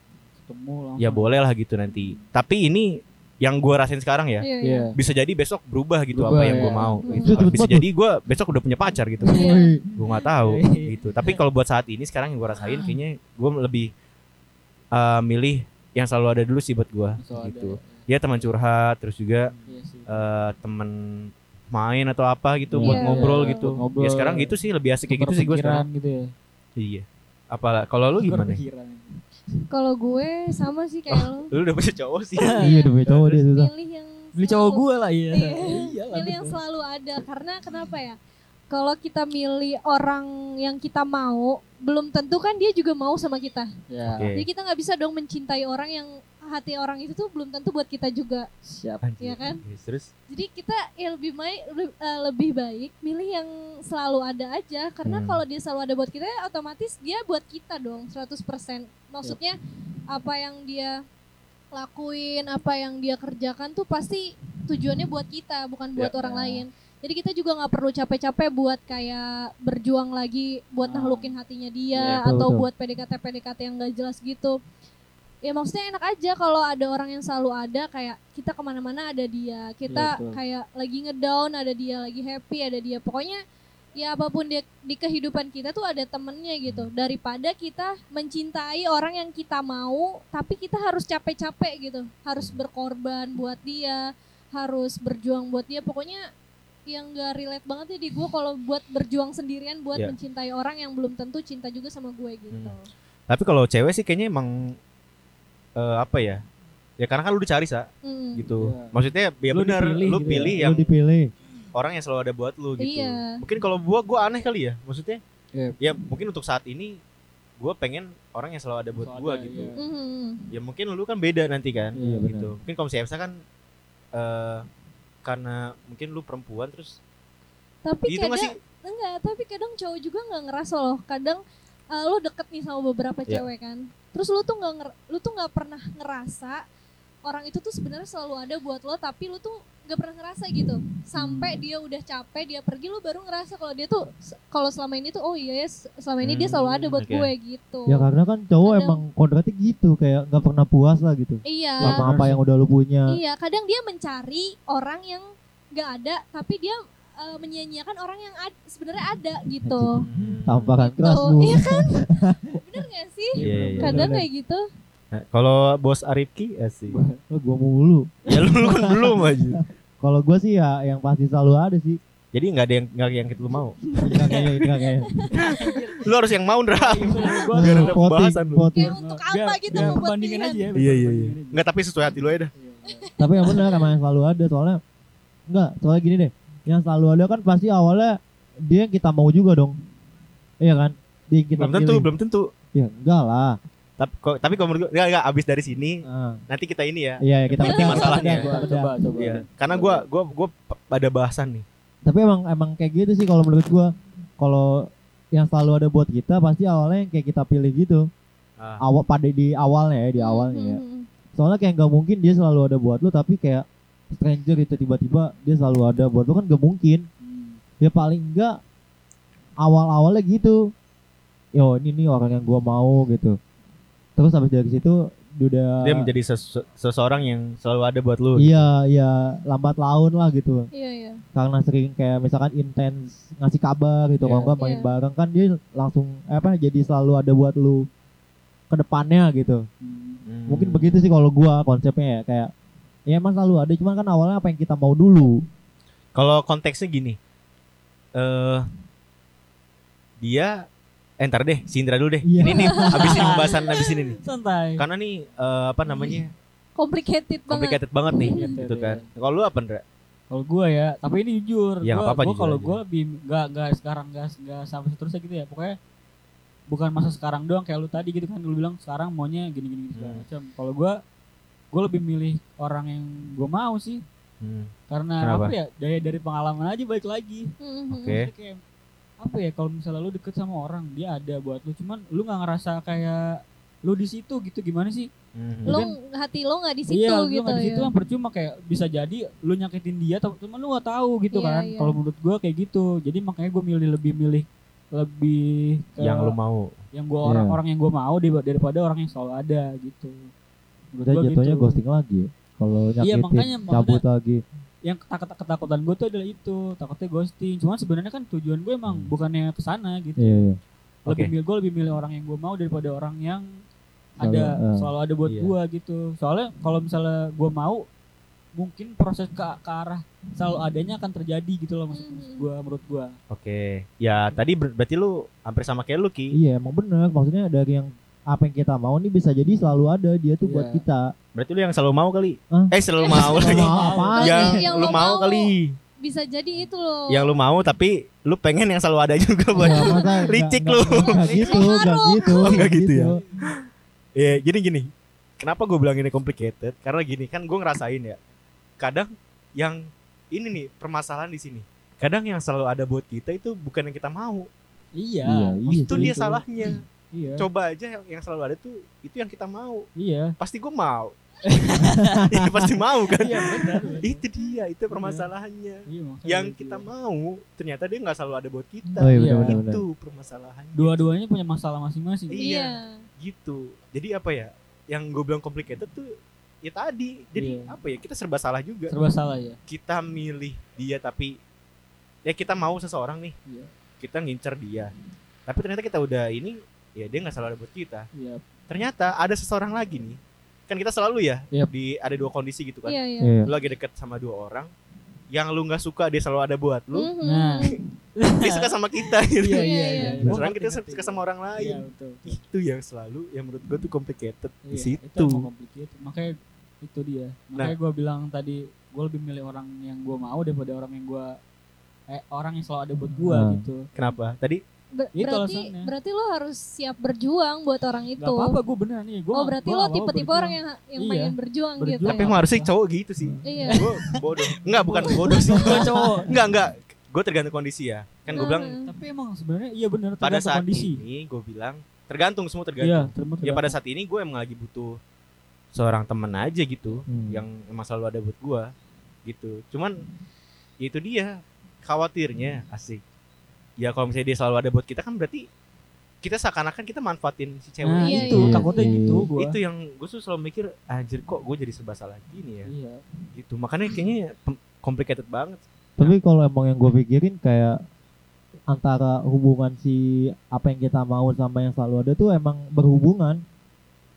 C: ketemu langsung.
B: ya boleh lah gitu nanti. Tapi ini yang gue rasain sekarang ya
D: Iya, iya.
C: Iya.
B: bisa jadi besok berubah gitu
C: Berubah,
B: apa yang gue
C: ya.
B: mau
D: Hmm.
B: gitu.
E: Itu cepet
B: bisa
E: banget.
B: jadi gue besok udah punya pacar gitu
D: Iya.
E: Wih,
B: gue nggak tahu
C: Iya.
B: gitu tapi kalau buat saat ini sekarang yang gue rasain kayaknya gue lebih eh, milih yang selalu ada dulu sih buat gue
C: So, ada-
B: gitu ya teman curhat terus juga
C: Iya sih.
B: eh, teman main atau apa gitu
D: Iya.
B: buat ngobrol
D: Buat
B: gitu
C: ngobrol.
B: ya sekarang gitu sih lebih asik kayak
C: Tukar
B: gitu sih gue
C: pikiran
B: sekarang
C: gitu ya.
B: iya apalah kalau lu
C: Tukar
B: gimana
C: pikiran.
D: Kalau gue sama sih kayak lo.
B: lu udah punya cowok sih
E: Iya, udah punya cowok dia susah.
D: Milih yang
C: Beli cowok
D: selalu-
C: gue lah iya.
D: Iya.
C: Iya lah.
D: Milih yang selalu ada karena kenapa ya? Kalau kita milih orang yang kita mau, belum tentu kan dia juga mau sama kita.
C: Ya.
B: Oke.
D: Jadi kita nggak bisa dong mencintai orang yang hati orang itu tuh belum tentu buat kita juga.
C: Siap.
B: Anjir.
D: Iya kan?
B: Yes, terus
D: Jadi kita ya lebih baik le- eh, lebih baik milih yang selalu ada aja karena
B: Hmm.
D: kalau dia selalu ada buat kita ya otomatis dia buat kita dong 100%. Maksudnya apa yang dia lakuin, apa yang dia kerjakan tuh pasti tujuannya buat kita, bukan buat
B: Yap.
D: orang lain. Jadi kita juga nggak perlu capek-capek buat kayak berjuang lagi buat
C: Ah.
D: nahlukin hatinya
C: Iya,
D: dia
E: betul,
D: atau
E: betul.
D: buat PDKT-PDKT yang nggak jelas gitu. Ya maksudnya enak aja kalau ada orang yang selalu ada kayak kita kemana-mana ada
B: Iya,
D: dia, kita
C: betul.
D: kayak lagi ngedown ada dia, lagi happy ada dia. Pokoknya ya apapun di, di kehidupan kita tuh ada temennya gitu. Daripada kita mencintai orang yang kita mau, tapi kita harus capek-capek gitu, harus berkorban buat dia, harus berjuang buat dia. Pokoknya yang gak relate banget ya di gue kalau buat berjuang sendirian buat
B: Iya.
D: mencintai orang yang belum tentu cinta juga sama gue gitu.
B: Hmm. tapi kalau cewek sih kayaknya emang eh, apa ya ya karena kan lu dicari sa
D: Mm.
B: gitu.
C: Iya.
B: Maksudnya ya
C: Lu
B: benar
C: dipilih
B: lu
C: gitu ya,
B: pilih
E: Lu
B: yang
E: dipilih.
B: orang yang selalu ada buat lu gitu.
D: Iya.
B: Mungkin kalau gua gua aneh kali ya. Maksudnya
C: Iya.
B: ya mungkin untuk saat ini gua pengen orang yang selalu ada buat
C: Selalu
B: gua
C: ada,
B: gitu.
D: Mhm.
B: Ya mungkin lu kan beda nanti kan
C: Iya,
B: gitu. Mungkin kalau si Elsa kan eh karena mungkin lu perempuan terus
D: Tapi
B: gitu
D: kadang
B: nggak sih?
D: enggak, tapi kadang cowok juga nggak ngerasa loh. Kadang eh, lu deket nih sama beberapa
B: Iya.
D: cewek kan. Terus lu tuh nggak nger- lu tuh nggak pernah ngerasa orang itu tuh sebenarnya selalu ada buat lo, tapi lu tuh nggak pernah ngerasa gitu. Sampai dia udah capek, dia pergi, lu baru ngerasa kalau dia tuh kalau selama ini tuh oh iya ya, selama ini dia selalu ada
B: Hmm,
D: buat
B: oke.
D: gue gitu.
E: Ya karena kan cowok
D: Kadang-
E: emang kontraknya gitu kayak nggak pernah puas lah gitu.
D: Iya.
E: Sama apa yang udah lu punya.
D: Iya, kadang dia mencari orang yang nggak ada, tapi dia eh, menyia-nyiakan orang yang ad- sebenarnya ada gitu.
B: Hmm.
E: Tampakan
D: Gitu.
E: keras lu.
D: Iya kan? Bener gak sih?
B: Iya, iya, iya.
D: Kadang kayak gitu.
B: Nah, kalau bos Arifki asik.
E: Lu gua mulu.
B: ya lu lu kan belum aja.
E: Kalau gua sih ya yang pasti selalu ada sih.
B: Jadi nggak ada yang nggak ada yang lu mau.
E: Enggak kayaknya, enggak kayaknya.
B: Lu harus yang mau, Ndra.
C: Gua
B: Biar ada
E: Voting,
B: pembahasan lu.
E: voting.
D: Kayak untuk apa
C: Iya. Biar-
D: gitu
C: biar
D: membuat
C: perbandingan
D: pilihan.
C: aja ya.
B: Iya, iya, iya.
C: perbandingan aja.
B: Nggak tapi sesuai hati lu aja dah.
C: Iya.
E: Tapi yang benar emang yang selalu ada soalnya enggak, soalnya gini deh. Yang selalu ada kan pasti awalnya dia yang kita mau juga dong. Iya kan? Dia yang kita
B: Belum tentu,
E: pilih.
B: belum tentu.
E: Ya enggak lah.
B: Tapi kok tapi kalau menurut gue enggak enggak abis dari sini
E: Ah,
B: nanti kita ini ya.
E: Iya, ya, kita
B: Ini
E: bedah,
B: masalahnya.
E: kita
C: Coba,
E: bedah.
C: coba, coba.
B: Iya. Karena gua gua gua p- ada bahasan nih.
E: Tapi emang emang kayak gitu sih kalau menurut gua. Kalau yang selalu ada buat kita pasti awalnya yang kayak kita pilih gitu.
B: Ah.
E: Awal pada di awalnya ya, di awalnya ya.
D: Mhm.
E: soalnya kayak nggak mungkin dia selalu ada buat lu tapi kayak stranger itu tiba-tiba dia selalu ada buat lu kan gak mungkin
C: Hmm.
E: ya paling enggak awal-awalnya gitu yo ini nih orang yang gua mau gitu terus habis dari situ dia udah
B: Dia menjadi sesu- seseorang yang selalu ada buat lu.
E: iya iya lambat laun lah gitu
D: Iya, iya.
E: karena sering kayak misalkan intens ngasih kabar gitu kalau
C: Iya.
E: nggak main
D: Iya.
E: bareng kan dia langsung eh, apa jadi selalu ada buat lu ke depannya gitu
C: Hmm.
B: Hmm.
E: mungkin begitu sih kalau gua konsepnya ya kayak ya emang selalu ada cuman kan awalnya apa yang kita mau dulu
B: Kalau konteksnya gini. Eh dia eh, ntar deh, si Indra dulu deh.
E: Iya.
B: Ini nih abisin pembahasan abisin ini nih.
C: Santai.
B: Karena nih eh, apa namanya?
D: Complicated banget.
B: complicated banget nih
C: Complicated,
B: gitu kan.
C: iya.
B: Kalau lu apa, Ndra?
C: Kalau gue ya, tapi ini jujur.
B: Ya, nggak
C: Gua-
B: apa-apa,
C: gua
B: jujur
C: kalau
B: aja.
C: gue lebih nggak nggak sekarang nggak nggak sampai seterusnya gitu ya. Pokoknya bukan masa sekarang doang kayak lu tadi gitu kan lu bilang sekarang maunya gini gini, gini segala
B: Hmm.
C: macam kalau gue gue lebih milih orang yang gue mau sih
B: Hmm.
C: karena
B: Kenapa?
C: apa ya dari dari pengalaman aja balik lagi
D: Mhm.
B: Oke.
C: Maksudnya kayak, apa ya kalau misalnya lu deket sama orang dia ada buat lu cuman lu nggak ngerasa kayak lu di situ gitu gimana sih
B: Hmm.
D: Lo
C: Mungkin-
D: hati lo nggak di situ
C: iya, lu
D: gitu
C: nggak di situ
D: ya.
C: kan percuma kayak bisa jadi lu nyakitin dia tapi cuman lu nggak tahu gitu
D: Iya,
C: kan.
D: iya.
C: Kalau menurut gua kayak gitu. Jadi makanya gua milih lebih milih lebih ke
B: yang lu mau
C: yang gua
E: Iya.
C: orang-orang yang gua mau daripada- daripada orang yang selalu ada gitu. Menurut
E: Udah
C: gua
E: jatuhnya
C: gitu. Iya,
E: ghosting lagi ya. Kalau nyakitin,
C: makanya, maksudnya-
E: cabut lagi.
C: Yang ketak- ketakutan gua tuh adalah itu, takutnya ghosting. Cuman sebenarnya kan tujuan gua emang
B: Hmm.
C: bukannya ke sana gitu.
E: Iya, iya.
C: Lebih
B: Oke.
C: milih gua lebih milih orang yang gua mau daripada orang yang
E: Selalu,
C: ada
E: eh.
C: selalu ada buat
B: Iya.
C: gua gitu. Soalnya kalau misalnya gua mau mungkin proses ke, ke arah selalu adanya akan terjadi gitu loh maksud
B: Mm-hmm.
C: maksud gua menurut gua.
B: oke ya tadi ber- berarti lu hampir sama kayak lu ki
E: Iya, emang bener. Maksudnya dari yang apa yang kita mau nih bisa jadi selalu ada dia tuh buat
C: Iya.
E: kita.
B: berarti lu yang selalu mau kali
E: Hah?
B: eh selalu mau lagi
E: Mau apaan?
D: Iya.
B: yang,
D: Yang
B: lu
D: lu
B: mau
D: mau.
B: kali
D: Bisa jadi itu loh.
B: yang lu mau tapi lu pengen yang selalu ada juga buat
E: Iya, masa nggak-
B: Licik
E: nggak-
B: lu.
E: Nggak gitu, nggak gitu.
B: Oh, nggak
E: nggak
B: gitu ya. Ya gini gini. Kenapa gue bilang ini complicated? Karena gini kan gue ngerasain ya. Kadang yang ini nih permasalahan di sini. Kadang yang selalu ada buat kita itu bukan yang kita mau.
C: Iya.
E: Iya,
C: maksud
E: iya.
B: Itu
C: gua
B: dia salahnya.
C: Iya.
B: Coba aja yang, yang selalu ada tuh itu yang kita mau.
C: Iya.
B: Pasti gue mau. Iya, pasti mau kan.
C: Iya benar.
B: itu dia itu permasalahannya.
C: Iya, makanya
B: Yang
C: gitu.
B: kita mau ternyata dia nggak selalu ada buat kita.
E: Oh iya,
C: Iya.
E: bener-bener.
B: Itu permasalahannya.
C: dua-duanya punya masalah masing-masing.
B: Iya.
D: Iya.
B: gitu jadi apa ya yang gue bilang complicated tuh ya tadi jadi
C: Iya.
B: apa ya kita serba salah juga
C: Serba salah ya.
B: kita milih dia tapi ya kita mau seseorang nih
C: Iya.
B: kita ngincer dia tapi ternyata kita udah ini ya dia nggak selalu ada buat kita
C: Iya.
B: ternyata ada seseorang lagi nih kan kita selalu ya
C: Yap.
B: di ada dua kondisi gitu kan
D: Iya, iya.
E: Iya.
B: lu lagi deket sama dua orang yang lu nggak suka dia selalu ada buat lu
D: Mhm.
C: Nah.
B: dia suka sama kita gitu
C: Iya iya iya. Gua
B: Sekarang kita
C: ngerti, ngerti.
B: suka sama orang
C: Iya,
B: lain
C: betul.
B: itu yang selalu yang menurut gue tuh complicated di
C: Iya,
B: situ
C: itu emang complicated. makanya itu dia
B: Nah.
C: makanya gua bilang tadi gua lebih milih orang yang gua mau daripada orang yang gua eh orang yang selalu ada buat gua
E: Nah.
C: gitu
B: Kenapa? Tadi
D: Ber-
C: Itu
D: berarti
C: alasannya.
D: berarti lo harus siap berjuang buat orang itu.
C: Gak apa-apa gua beneran nih gua
D: oh, berarti lo tipe-tipe orang yang yang
C: Iya.
D: pengen berjuang, gitu.
C: Berjuang.
B: tapi emang harusnya cowok gitu sih.
D: Iya.
B: Gue bodoh. Enggak, bukan bodoh sih.
C: gua cowok
B: Enggak, enggak. Gue tergantung kondisi ya. Kan gue bilang
D: Heeh.
C: tapi emang sebenarnya iya
B: pada
C: bener Nah. tergantung
B: saat
C: kondisi
B: ini gue bilang tergantung semua
C: iya
B: tergantung.
C: tergantung
B: Ya pada saat ini gue emang lagi butuh seorang temen aja gitu
E: Hmm.
B: yang emang selalu ada buat gue gitu. Cuman ya itu dia khawatirnya asik. Ya kalau misalnya dia selalu ada buat kita kan berarti kita seakan-akan kita manfaatin si cewek
C: nah,
D: Iya,
B: itu.
C: itu
E: iya.
C: takutnya
E: Iya.
C: gitu gua
B: Itu yang gue tuh selalu mikir anjir kok gue jadi serba salah gini ya.
C: iya
E: Hmm.
B: gitu makanya kayaknya pem- complicated banget
E: Tapi kalau emang yang gue pikirin kayak antara hubungan si apa yang kita mau sama yang selalu ada tuh emang berhubungan.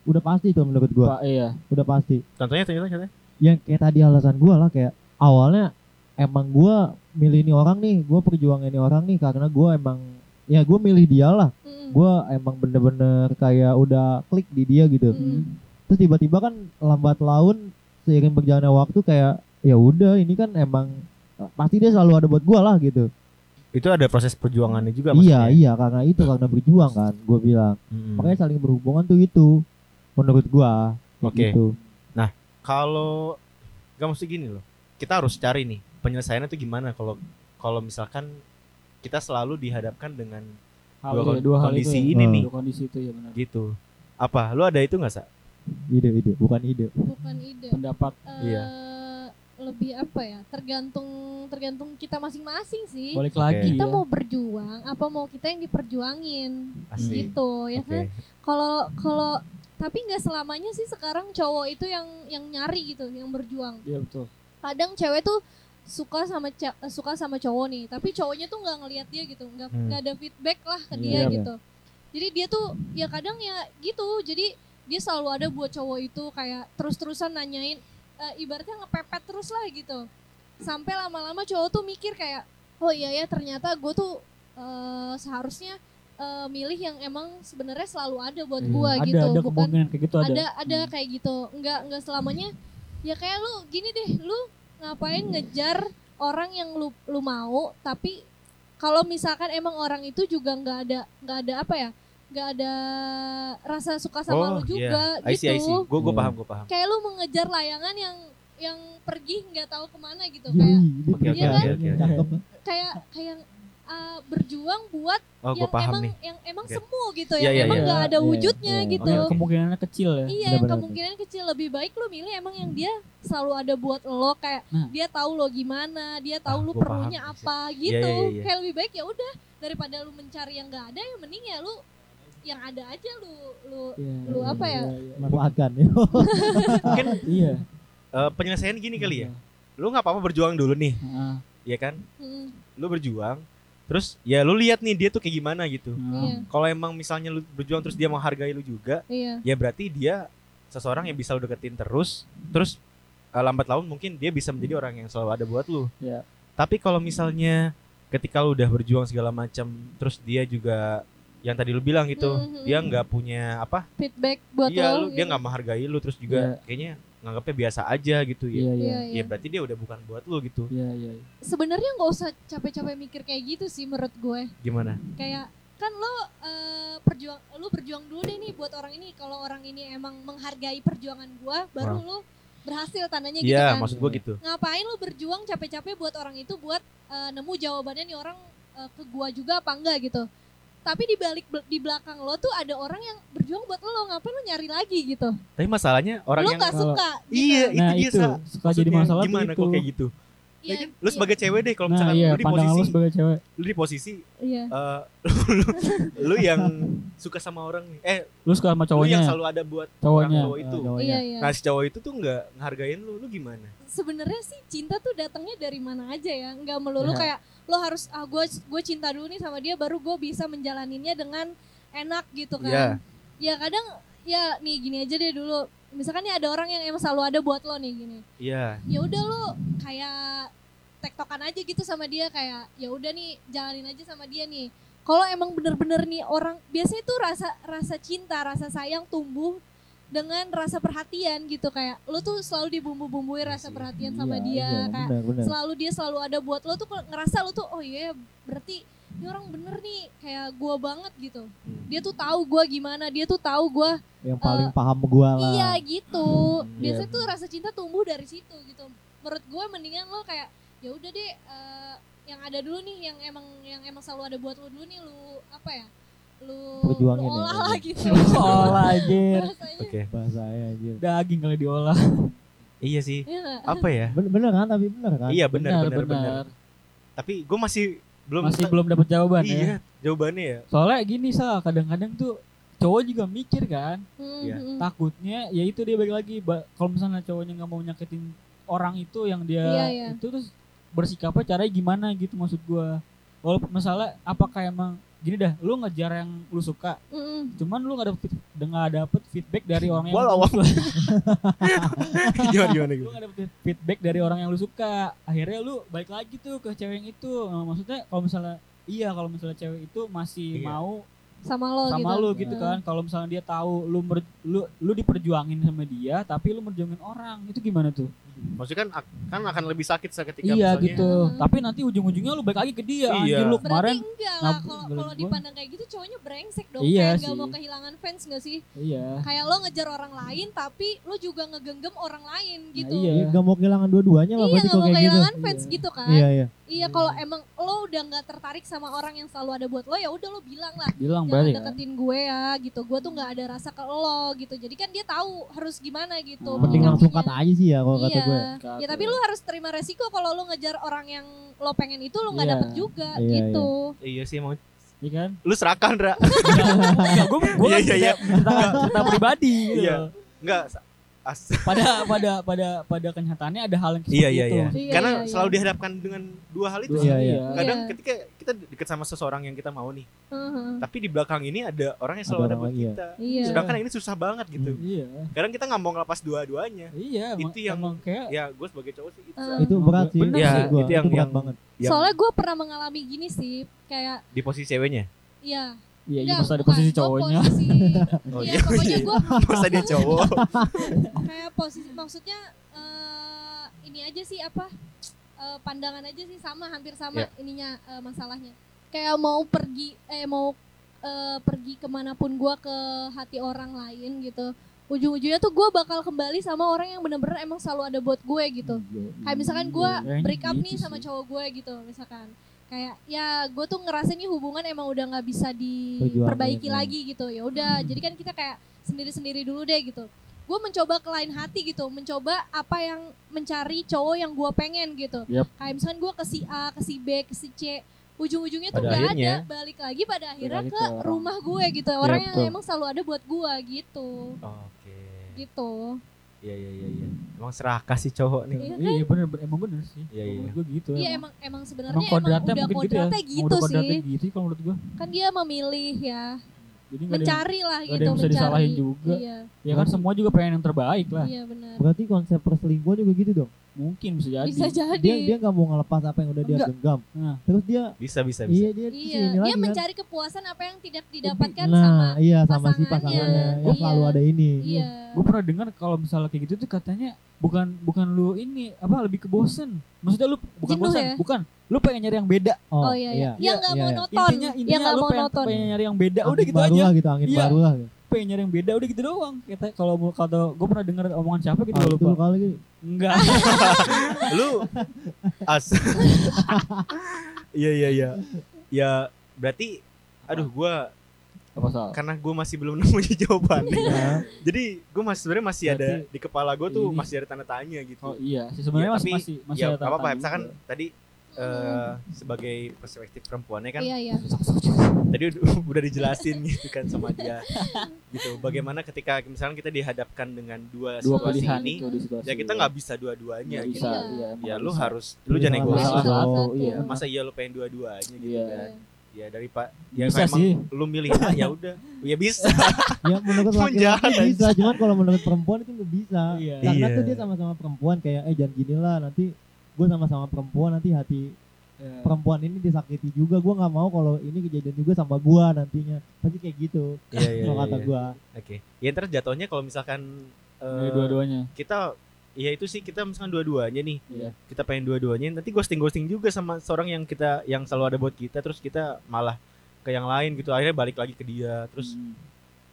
E: Udah pasti tuh menurut gua,
C: Pak, iya
E: udah pasti.
B: contohnya contohnya contohnya
E: Yang kayak tadi alasan gua lah kayak awalnya emang gua milih ini orang nih, gua perjuangin ini orang nih karena gua emang ya gua milih dia lah.
D: Mhm.
E: Gua emang bener-bener kayak udah klik di dia gitu.
D: Mhm.
E: terus tiba-tiba kan lambat laun seiring berjalannya waktu kayak ya udah ini kan emang eh, pasti dia selalu ada buat gua lah gitu
B: itu ada proses perjuangannya
E: iya
B: juga maksudnya Hmm.
E: iya karena itu karena berjuang kan gua bilang
B: Mm-mm.
E: makanya saling berhubungan tuh itu menurut gua kayak
B: Oke.
E: gitu.
B: kalau nggak mesti gini loh kita harus cari nih penyelesaiannya tuh gimana kalau kalau misalkan kita selalu dihadapkan dengan
C: hal
B: dua,
C: itu, dua hal itu
B: kondisi
C: ya.
B: ini
E: Hmm.
B: nih
C: dua kondisi itu ya benar
B: gitu apa lu ada itu nggak sa
E: ide ide bukan ide
D: Bukan ide.
C: pendapat
D: Eh,
B: Iya.
D: lebih apa ya? Tergantung tergantung kita masing-masing sih.
C: balik lagi
D: Kita
B: Iya.
C: ya.
D: mau berjuang apa mau kita yang diperjuangin
B: Asik.
D: gitu ya kan?
B: Oke.
D: Kalau kalau tapi nggak selamanya sih sekarang cowok itu yang yang nyari gitu, yang berjuang.
C: iya betul
D: kadang cewek tuh suka sama ce- suka sama cowok nih tapi cowoknya tuh nggak ngelihat dia gitu nggak
B: Hmm.
D: nggak ada feedback lah ke
E: Iya,
D: dia
E: iya.
D: gitu jadi dia tuh ya kadang ya gitu jadi dia selalu ada buat cowok itu kayak terus-terusan nanyain eh, ibaratnya ngepepet terus lah gitu sampai lama-lama cowok tuh mikir kayak oh iya ya ternyata gue tuh eh, seharusnya eh, milih yang emang sebenarnya selalu ada buat
E: Iya.
B: Hmm,
D: gue
C: ada
D: gitu
C: ada
D: bukan
C: kemungkinan kayak gitu ada
D: ada ada kayak gitu nggak nggak selamanya ya kayak lu gini deh lu ngapain ngejar orang yang lu lu mau tapi kalau misalkan emang orang itu juga nggak ada nggak ada apa ya nggak ada rasa suka sama
B: Oh,
D: lu
B: iya.
D: juga
B: I see, I see.
D: gitu
B: Gue gue
E: Iya.
B: paham, gue paham.
D: kayak lu mengejar layangan yang yang pergi nggak tahu kemana gitu
C: Iya,
E: Yui, dia
B: Oke,
D: kayak oke,
E: pernikahan,
B: oke, oke.
E: cakep.
D: kayak kayak uh, berjuang buat
B: Oh, gue
D: yang
B: paham
D: emang
B: nih.
D: yang emang
B: Oke.
D: semu gitu
B: Iya,
D: yang
B: iya,
D: emang
C: iya.
D: nggak ada
E: Iya,
D: wujudnya
E: iya.
D: gitu
C: Oke, kemungkinannya kecil ya.
D: Iya, yang
E: Benar-benar.
D: kemungkinan kecil lebih baik lu milih emang yang dia selalu ada buat lo kayak
C: Nah.
D: dia tahu lo gimana, dia tahu
B: Ah,
D: lu
B: gua
D: perlunya
B: paham.
D: apa gitu.
B: Iya, iya, iya.
D: Kayak lebih baik ya udah daripada lu mencari yang gak ada yang mending ya lu yang ada aja lu lu
C: Iya,
D: Lu apa ya?
C: iya, iya.
E: Manfaatkan ya.
B: Mungkin
C: Iya.
B: eh, penyelesaian gini kali
D: Hmm.
B: ya. Lu nggak apa-apa berjuang dulu nih,
C: Heeh,
B: ya kan?
D: mm,
B: Lu berjuang, terus ya lu lihat nih dia tuh kayak gimana gitu.
C: heeh.
D: iya
B: Kalau emang misalnya lu berjuang terus dia menghargai lu juga,
D: iya
B: ya berarti dia seseorang yang bisa lu deketin terus, terus eh, lambat laun mungkin dia bisa menjadi orang yang selalu ada buat lu.
C: Iya.
B: Tapi kalau misalnya ketika lu udah berjuang segala macam, terus dia juga yang tadi lu bilang gitu,
D: Mhm.
B: dia nggak punya apa
D: feedback buat
B: iya
D: lo.
B: lu dia nggak menghargai lu terus juga kayaknya nganggapnya biasa aja gitu ya
C: Iya, iya.
D: Iya,
B: ya
D: iya.
B: berarti dia udah bukan buat lu gitu
C: Iya, iya.
D: Sebenarnya nggak usah capek-capek mikir kayak gitu sih menurut gue.
B: gimana
D: kayak kan lo eh, perjuang lo berjuang dulu deh nih buat orang ini kalau orang ini emang menghargai perjuangan gua baru lo berhasil tandanya gitu
B: iya
D: kan
B: maksud gua gitu
D: ngapain lo berjuang capek-capek buat orang itu buat eh, nemu jawabannya nih orang eh, ke gua juga apa enggak gitu tapi di balik di belakang lo tuh ada orang yang berjuang buat lo ngapain lo nyari lagi gitu
B: tapi masalahnya orang
D: lo
B: yang
D: nggak suka
B: iya
C: Nah,
D: gitu.
B: itu dia
C: itu
B: Sa.
C: suka jadi
B: Maksudnya
C: masalah tuh
B: gimana
C: itu.
B: kok kayak gitu
D: Iya,
B: ya kan lu
D: iya,
B: sebagai cewek deh kalau
C: Nah,
B: misalkan
C: iya,
B: lu di
C: pandangan
B: posisi
C: lu sebagai cewek.
B: lu di posisi
D: iya
B: eh, lu yang suka sama orang nih eh
C: Lu suka sama
B: lu yang
C: cowoknya,
B: selalu ada buat
C: cowoknya.
B: orang cowok itu
E: Ah,
D: iya
E: cowoknya.
D: iya
B: nah si cowok itu tuh nggak ngehargain lu lu gimana
D: sebenarnya sih cinta tuh datangnya dari mana aja ya nggak melulu
C: Iya.
D: kayak lo harus ah gue gue cinta dulu nih sama dia baru gue bisa menjalaninnya dengan enak gitu
B: Iya.
D: kan ya kadang ya nih gini aja deh dulu misalkan nih ada orang yang emang selalu ada buat lo nih gini
B: iya
D: ya udah lo kayak tektokan aja gitu sama dia kayak ya udah nih jalanin aja sama dia nih kalau emang bener-bener nih orang biasanya tuh rasa rasa cinta rasa sayang tumbuh dengan rasa perhatian gitu kayak lo tuh selalu dibumbu-bumbui rasa perhatian sama
E: Iya,
D: dia
E: iya,
D: kayak
E: benar, benar.
D: selalu dia selalu ada buat lo tuh kalau ngerasa lo tuh oh iya berarti ini orang bener nih kayak gua banget gitu
E: Hmm.
D: dia tuh tahu gua gimana dia tuh tahu gua
E: Yang paling paham gua lah.
D: eh, Iya gitu.
B: Hmm,
D: Biasanya
E: iya.
D: tuh rasa cinta tumbuh dari situ gitu. Menurut gue mendingan lo kayak ya udah deh eh, yang ada dulu nih yang emang yang emang selalu ada buat lo dulu nih lu apa ya? Lu
E: Perjuangin
D: lu
E: ya,
D: olah
E: iya.
D: lah gitu.
C: Olah anjir.
D: Rasanya.
B: oke
E: Bahasa saya anjir.
C: Daging kali diolah.
B: iya sih
D: Iya nggak?
B: apa ya
E: Ben- Bener kan tapi bener kan?
B: iya benar benar benar tapi gue masih belum
C: Masih belum dapat jawaban ya.
B: iya jawabannya ya
C: Soalnya gini Sal, kadang-kadang tuh cowok juga mikir kan,
D: Hmm,
B: Iya.
D: hmm, hmm.
C: takutnya ya itu dia balik lagi ba- kalau misalnya cowoknya nggak mau nyakitin orang itu yang dia
D: Iya, iya.
C: itu terus bersikapnya caranya gimana gitu maksud gua. Walaupun misalnya apakah emang gini dah, lu ngejar yang lu suka,
D: Hmm, hmm.
C: cuman lu nggak dapet nggak dapet feedback dari orang yang
B: Walau-
C: lu suka.
B: gimana gimana
C: lu
B: gitu
C: gak dapet feedback dari orang yang lu suka akhirnya lu balik lagi tuh ke cewek yang itu Nah, maksudnya kalau misalnya iya kalau misalnya cewek itu masih
B: Iya.
C: mau
D: Sama lo gitu.
C: sama lu gitu
D: Nah.
C: kan kalau misalnya dia tahu lu mer- lu lu diperjuangin sama dia tapi lu merjuangin orang itu gimana tuh
B: maksudnya kan ak- kan akan lebih sakit sa- ketika
C: iya
B: misalnya
C: gitu
D: Hmm.
C: tapi nanti ujung-ujungnya lu balik lagi ke dia
B: Iya.
C: anjir lu
D: Berarti
C: kemarin
D: enggak lah
C: nab-
D: kalau
C: menurut
D: kalau
C: gua.
D: dipandang kayak gitu cowoknya brengsek dong
C: Iya
D: kayak nggak
C: sih.
D: mau kehilangan fans gak sih?
C: iya
D: Kayak lo ngejar orang lain tapi lo juga ngegenggam orang lain gitu.
C: iya.
E: Iya, Gak mau kehilangan dua-duanya lah
D: Iya
E: berarti
D: nggak
E: kalau
D: mau
E: kayak gitu.
D: kehilangan fans
C: Iya.
D: gitu kan.
E: Iya iya.
D: Iya kalau emang lo udah nggak tertarik sama orang yang selalu ada buat lo ya udah lo bilang lah
C: bilang
D: jangan
C: berarti kan
D: deketin gue ya gitu gue tuh nggak ada rasa ke lo gitu jadi kan dia tahu harus gimana gitu
C: Hmm.
E: Mending
C: Iya.
E: langsung kata aja sih ya kalau kata
D: iya
E: gue.
D: ya tapi lu harus terima resiko kalau lo ngejar orang yang lo pengen itu lo nggak
C: Iya.
D: dapet juga
E: Iya,
D: gitu
B: iya sih mau
C: iya kan
B: lu serakan ra
C: Enggak, gue gue
B: Iya, iya, iya.
C: cerita cerita pribadi gitu
B: Iya.
C: loh.
B: enggak sa- as
C: pada pada pada pada kenyataannya ada hal yang seperti
B: iya iya
C: itu
B: iya
D: Iya,
B: karena
D: iya, iya.
B: selalu dihadapkan dengan dua hal itu
C: Gitu. Dua
B: sih.
E: Iya, iya.
B: kadang
D: Iya.
B: ketika kita deket sama seseorang yang kita mau nih
D: Heeh.
B: tapi di belakang ini ada orang yang selalu
E: Ada
B: ada
E: orang
B: buat
E: lagi Hmm. ya.
B: kita
D: iya
B: sedangkan yang ini susah banget gitu
C: iya
B: kadang kita nggak mau ngelepas dua-duanya
C: iya emang-
B: Itu yang-
C: emang kayak
B: ya gue sebagai cowok sih itu
D: Heeh.
E: Itu berat sih.
C: Bener
E: menurut
B: sih.
E: gua.
B: Itu yang-
E: berat
B: yang-
E: banget.
B: yang
D: Eh, soalnya gue pernah mengalami gini sih kayak
B: di posisi ceweknya
D: ya
C: iya iya
D: nggak,
C: masa ada
D: bukan.
C: posisi
D: Gua
C: cowoknya
D: posisi,
B: oh
D: iya pokoknya gue
B: masa dia cowok
D: kayak posisi maksudnya eh ini aja sih apa eh, pandangan aja sih sama hampir sama
B: Ya.
D: ininya eh, masalahnya kayak mau pergi eh mau eh, pergi kemanapun gua ke hati orang lain gitu ujung-ujungnya tuh gua bakal kembali sama orang yang bener-bener emang selalu ada buat gue gitu kayak misalkan gua
C: Kayaknya
D: break up
C: Iya, gitu
D: nih sama
C: sih.
D: cowok gue gitu misalkan kayak ya gue tuh ngerasa ini hubungan emang udah nggak bisa
E: Perjuangin,
D: diperbaiki
E: ya.
D: lagi gitu ya udah
C: Hmm.
D: jadi kan kita kayak sendiri-sendiri dulu deh gitu gue mencoba ke lain hati gitu mencoba apa yang mencari cowok yang gue pengen gitu
C: Yap.
D: kayak misalkan gue ke si A ke si B ke si C ujung-ujungnya tuh
B: Pada
D: nggak
B: akhirnya.
D: ada balik lagi pada akhirnya
C: lagi
D: ke
C: ke orang.
D: rumah gue gitu orang yang
C: betul.
D: emang selalu ada buat gue gitu
B: Oke.
D: gitu
B: Iya iya iya iya. Emang serakah sih cowok nih.
D: Iya kan?
C: Iya bener, bener emang bener sih.
B: Iya, iya.
C: Menurut Gue gitu.
D: Iya
C: emang.
D: emang emang sebenarnya
C: Emang
D: emang,
C: kodratnya
D: udah
C: mungkin gitu ya.
D: kodratnya
C: Emang
D: gitu,
C: udah
D: sih
C: kodratnya gitu sih kalau menurut gue.
D: kan dia memilih ya
C: Jadi nggak ada yang-
D: mencari lah
C: nggak ada
D: gitu
C: yang bisa
D: mencari
C: disalahin juga.
D: iya
C: ya kan semua juga pengen yang terbaik
E: Nah,
C: lah.
D: iya benar
E: Berarti konsep perselingkuhan juga gitu dong.
C: Mungkin bisa jadi.
D: bisa jadi
E: Dia dia nggak mau ngelepas apa yang udah dia
C: Enggak.
E: genggam.
C: Nah.
E: Terus dia
B: Bisa bisa bisa.
E: iya dia
D: iya
E: kesini
D: dia
E: lagi kan.
D: mencari kepuasan apa yang tidak didapatkan
E: nah,
D: sama
E: iya sama si
D: pasangannya.
E: pasangannya yang
D: Iya.
E: selalu ada ini.
D: iya
C: Gue pernah dengar kalau misalnya kayak gitu tuh katanya bukan bukan lu ini apa lebih ke bosen. Maksudnya lu bukan
D: Jenuh
C: bosan,
D: ya?
C: bukan. Lu pengen nyari yang beda.
D: oh iya iya yang nggak
E: Iya, iya.
D: monoton
C: Intinya
D: yang
C: intinya
D: nggak
C: lu pengen,
D: monoton
C: pengen nyari yang beda udah
E: Angin
C: gitu
E: baru
C: aja.
E: lah gitu, angin
C: Iya.
E: baru lah. gitu.
C: Pengen nyari yang beda udah gitu doang. Kita kalau mau- kata gue pernah dengar omongan siapa gitu
E: Ah,
C: gua
E: itu
C: lupa.
E: kali gitu.
C: Enggak.
B: Lu as. Iya iya iya. Ya berarti aduh gua
C: apa soal?
B: karena gua masih belum nemu
D: Iya.
B: jawabannya.
E: Ya.
B: Jadi gua masih sebenarnya masih ada
C: Berarti
B: di kepala gua tuh
C: ini-
B: masih ada tanda tanya gitu.
C: Oh iya, sih sebenarnya
B: Iya,
C: masih
B: tapi-
C: masih masih
B: ya
C: ada
B: nggak apa-apa
C: tantangan
B: misalkan
C: juga.
B: tadi eh sebagai perspektif perempuannya kan
D: iya iya
B: tadi ud- udah dijelasin gitu kan sama dia gitu bagaimana ketika misalnya kita dihadapkan dengan dua,
C: dua
B: situasi
C: pilihan
B: ini
C: itu di situasi.
B: ya kita nggak bisa dua-duanya
C: Nggak
B: gitu.
C: bisa.
D: gitu.
C: Iya,
B: ya
C: nggak
B: lu
C: bisa.
B: harus lu jangan
E: Iya,
B: egois
E: salah
B: lah.
E: satu.
D: Satu.
E: Iya.
B: masa iya lu pengen dua-duanya gitu
C: Iya.
B: kan ya dari pak ya
C: Bisa
B: kalau emang
C: sih.
B: lu milih A ya udah ya bisa
E: Ya menurut
B: Cuman jahat,
E: laki-laki bisa, cuman kalau menurut perempuan itu nggak bisa.
C: Iya.
E: Karena
B: Iya.
E: tuh dia sama-sama perempuan kayak eh jangan gini lah nanti gue sama-sama perempuan nanti hati
C: Iya.
E: perempuan ini disakiti juga gue nggak mau kalau ini kejadian juga sama gue nantinya pasti kayak gitu
B: Iya, iya,
E: kalau
B: iya,
E: kata
B: iya.
E: gue
B: oke ya ntar jatuhnya kalau misalkan
C: Dari
B: eh,
C: Iya, dua-duanya.
B: kita ya itu sih kita misalkan dua-duanya nih
C: Iya.
B: kita pengen dua-duanya nanti ghosting ghosting juga sama seorang yang kita yang selalu ada buat kita terus kita malah ke yang lain gitu akhirnya balik lagi ke dia terus
C: Hmm.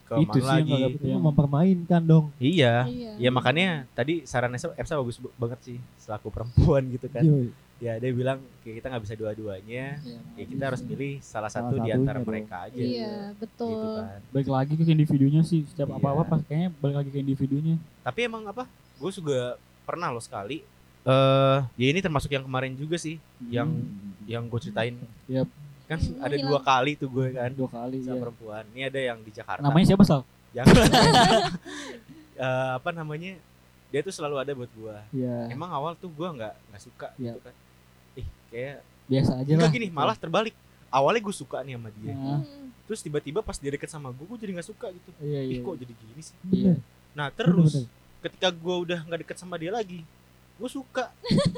B: ke mana
C: Itu sih yang
B: lagi
C: agak-
E: itu
C: Iya.
E: mempermainkan dong
B: iya
D: iya
B: ya makanya tadi saran Esa Esa bagus b- banget sih selaku perempuan gitu
C: Iya.
B: kan
E: Cuy.
B: ya dia bilang "Kayak kita nggak bisa dua-duanya
C: iya.
B: ya kita harus pilih salah
E: Salah
B: satu di antara
E: satunya
B: mereka aja
D: iya
B: gitu
D: betul
B: kan
C: balik lagi ke individunya sih setiap
B: Iya.
C: apa-apa pas kayaknya balik lagi ke individunya
B: tapi emang apa gue juga pernah loh sekali eh ya ini termasuk yang kemarin juga sih yang yang gue ceritain
C: Yap.
B: kan
D: Hmm,
B: ada
D: hilang.
B: dua kali tuh gue kan
C: dua kali
B: sama
C: ya.
B: perempuan. Ini ada yang di Jakarta.
C: namanya siapa sal
B: Jangan. Eh, apa namanya? Dia tuh selalu ada buat gua.
C: ya
B: Emang awal tuh gua nggak nggak suka gitu kan. Ih, kayak
C: biasa aja
B: enggak
C: Iya. lah
B: gini, malah terbalik. Awalnya gue suka nih sama dia.
C: Nah,
D: Mm.
B: Terus tiba-tiba pas dia deket sama gue, gue jadi nggak suka gitu.
C: iya iya
B: Ih, kok jadi gini sih?
C: iya
E: Bener.
B: Nah, terus ketika gua udah nggak deket sama dia lagi, gue suka.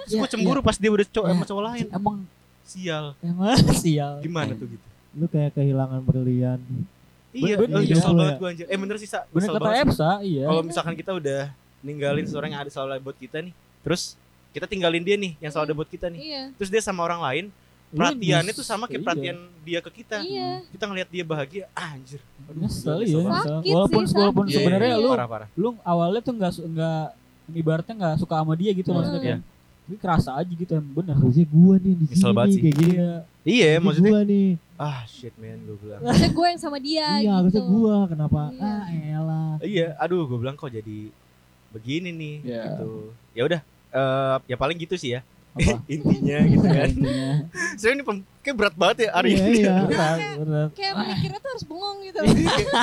B: Terus gue
C: Iya,
B: cemburu pas dia udah cowok
C: Iya.
B: sama cowok lain.
C: emang
B: Sial,
C: emang sial
B: gimana tuh gitu?
E: lu kayak kehilangan berlian
B: Iya,
C: Iya. bener,
B: eh,
E: iya.
B: nyesel banget gue anjir. Eh bener sih, Sa.
C: bener
B: Nyesel
C: kata
B: banget sih.
C: Epsa iya
B: kalau misalkan kita udah ninggalin seorang yang ada selalu ada buat kita nih terus kita tinggalin dia nih yang selalu ada buat kita nih
D: iya
B: terus dia sama orang lain
C: Lu
B: perhatiannya
C: Iya, nyes-
B: tuh sama kayak
C: iya.
B: perhatian dia ke kita
D: iya
B: kita ngelihat dia bahagia ah, anjir
C: nyesel
B: Nyesel
C: iya
B: banget.
C: nyesel.
D: Sakit
C: walaupun
D: sih,
C: walaupun
D: sakit.
B: Iya,
C: sebenarnya
B: iya,
C: lu
B: parah parah
C: lu awalnya tuh nggak su- nggak ibaratnya nggak suka sama dia gitu
D: Iya.
C: maksudnya kan tapi kerasa aja gitu emang bener
E: harusnya gue nih di
B: Nyesel
E: sini
B: banget
E: nih,
B: sih.
E: kayak gini
C: iya
B: iya maksudnya
E: gue nih
B: ah shit man gue bilang
D: harusnya gue yang sama dia
E: iya harusnya
D: gitu
E: gue kenapa
D: Iya.
E: ah elah
B: iya aduh gue bilang kok jadi begini nih
C: Iya.
B: gitu ya udah eh, ya paling gitu sih ya
C: apa
B: intinya gitu kan
C: intinya
B: saya ini pem- kayak berat banget ya
E: Iya,
B: hari ini
E: iya.
C: berat berat
D: kayak
E: Ah.
D: mikirnya tuh harus bengong gitu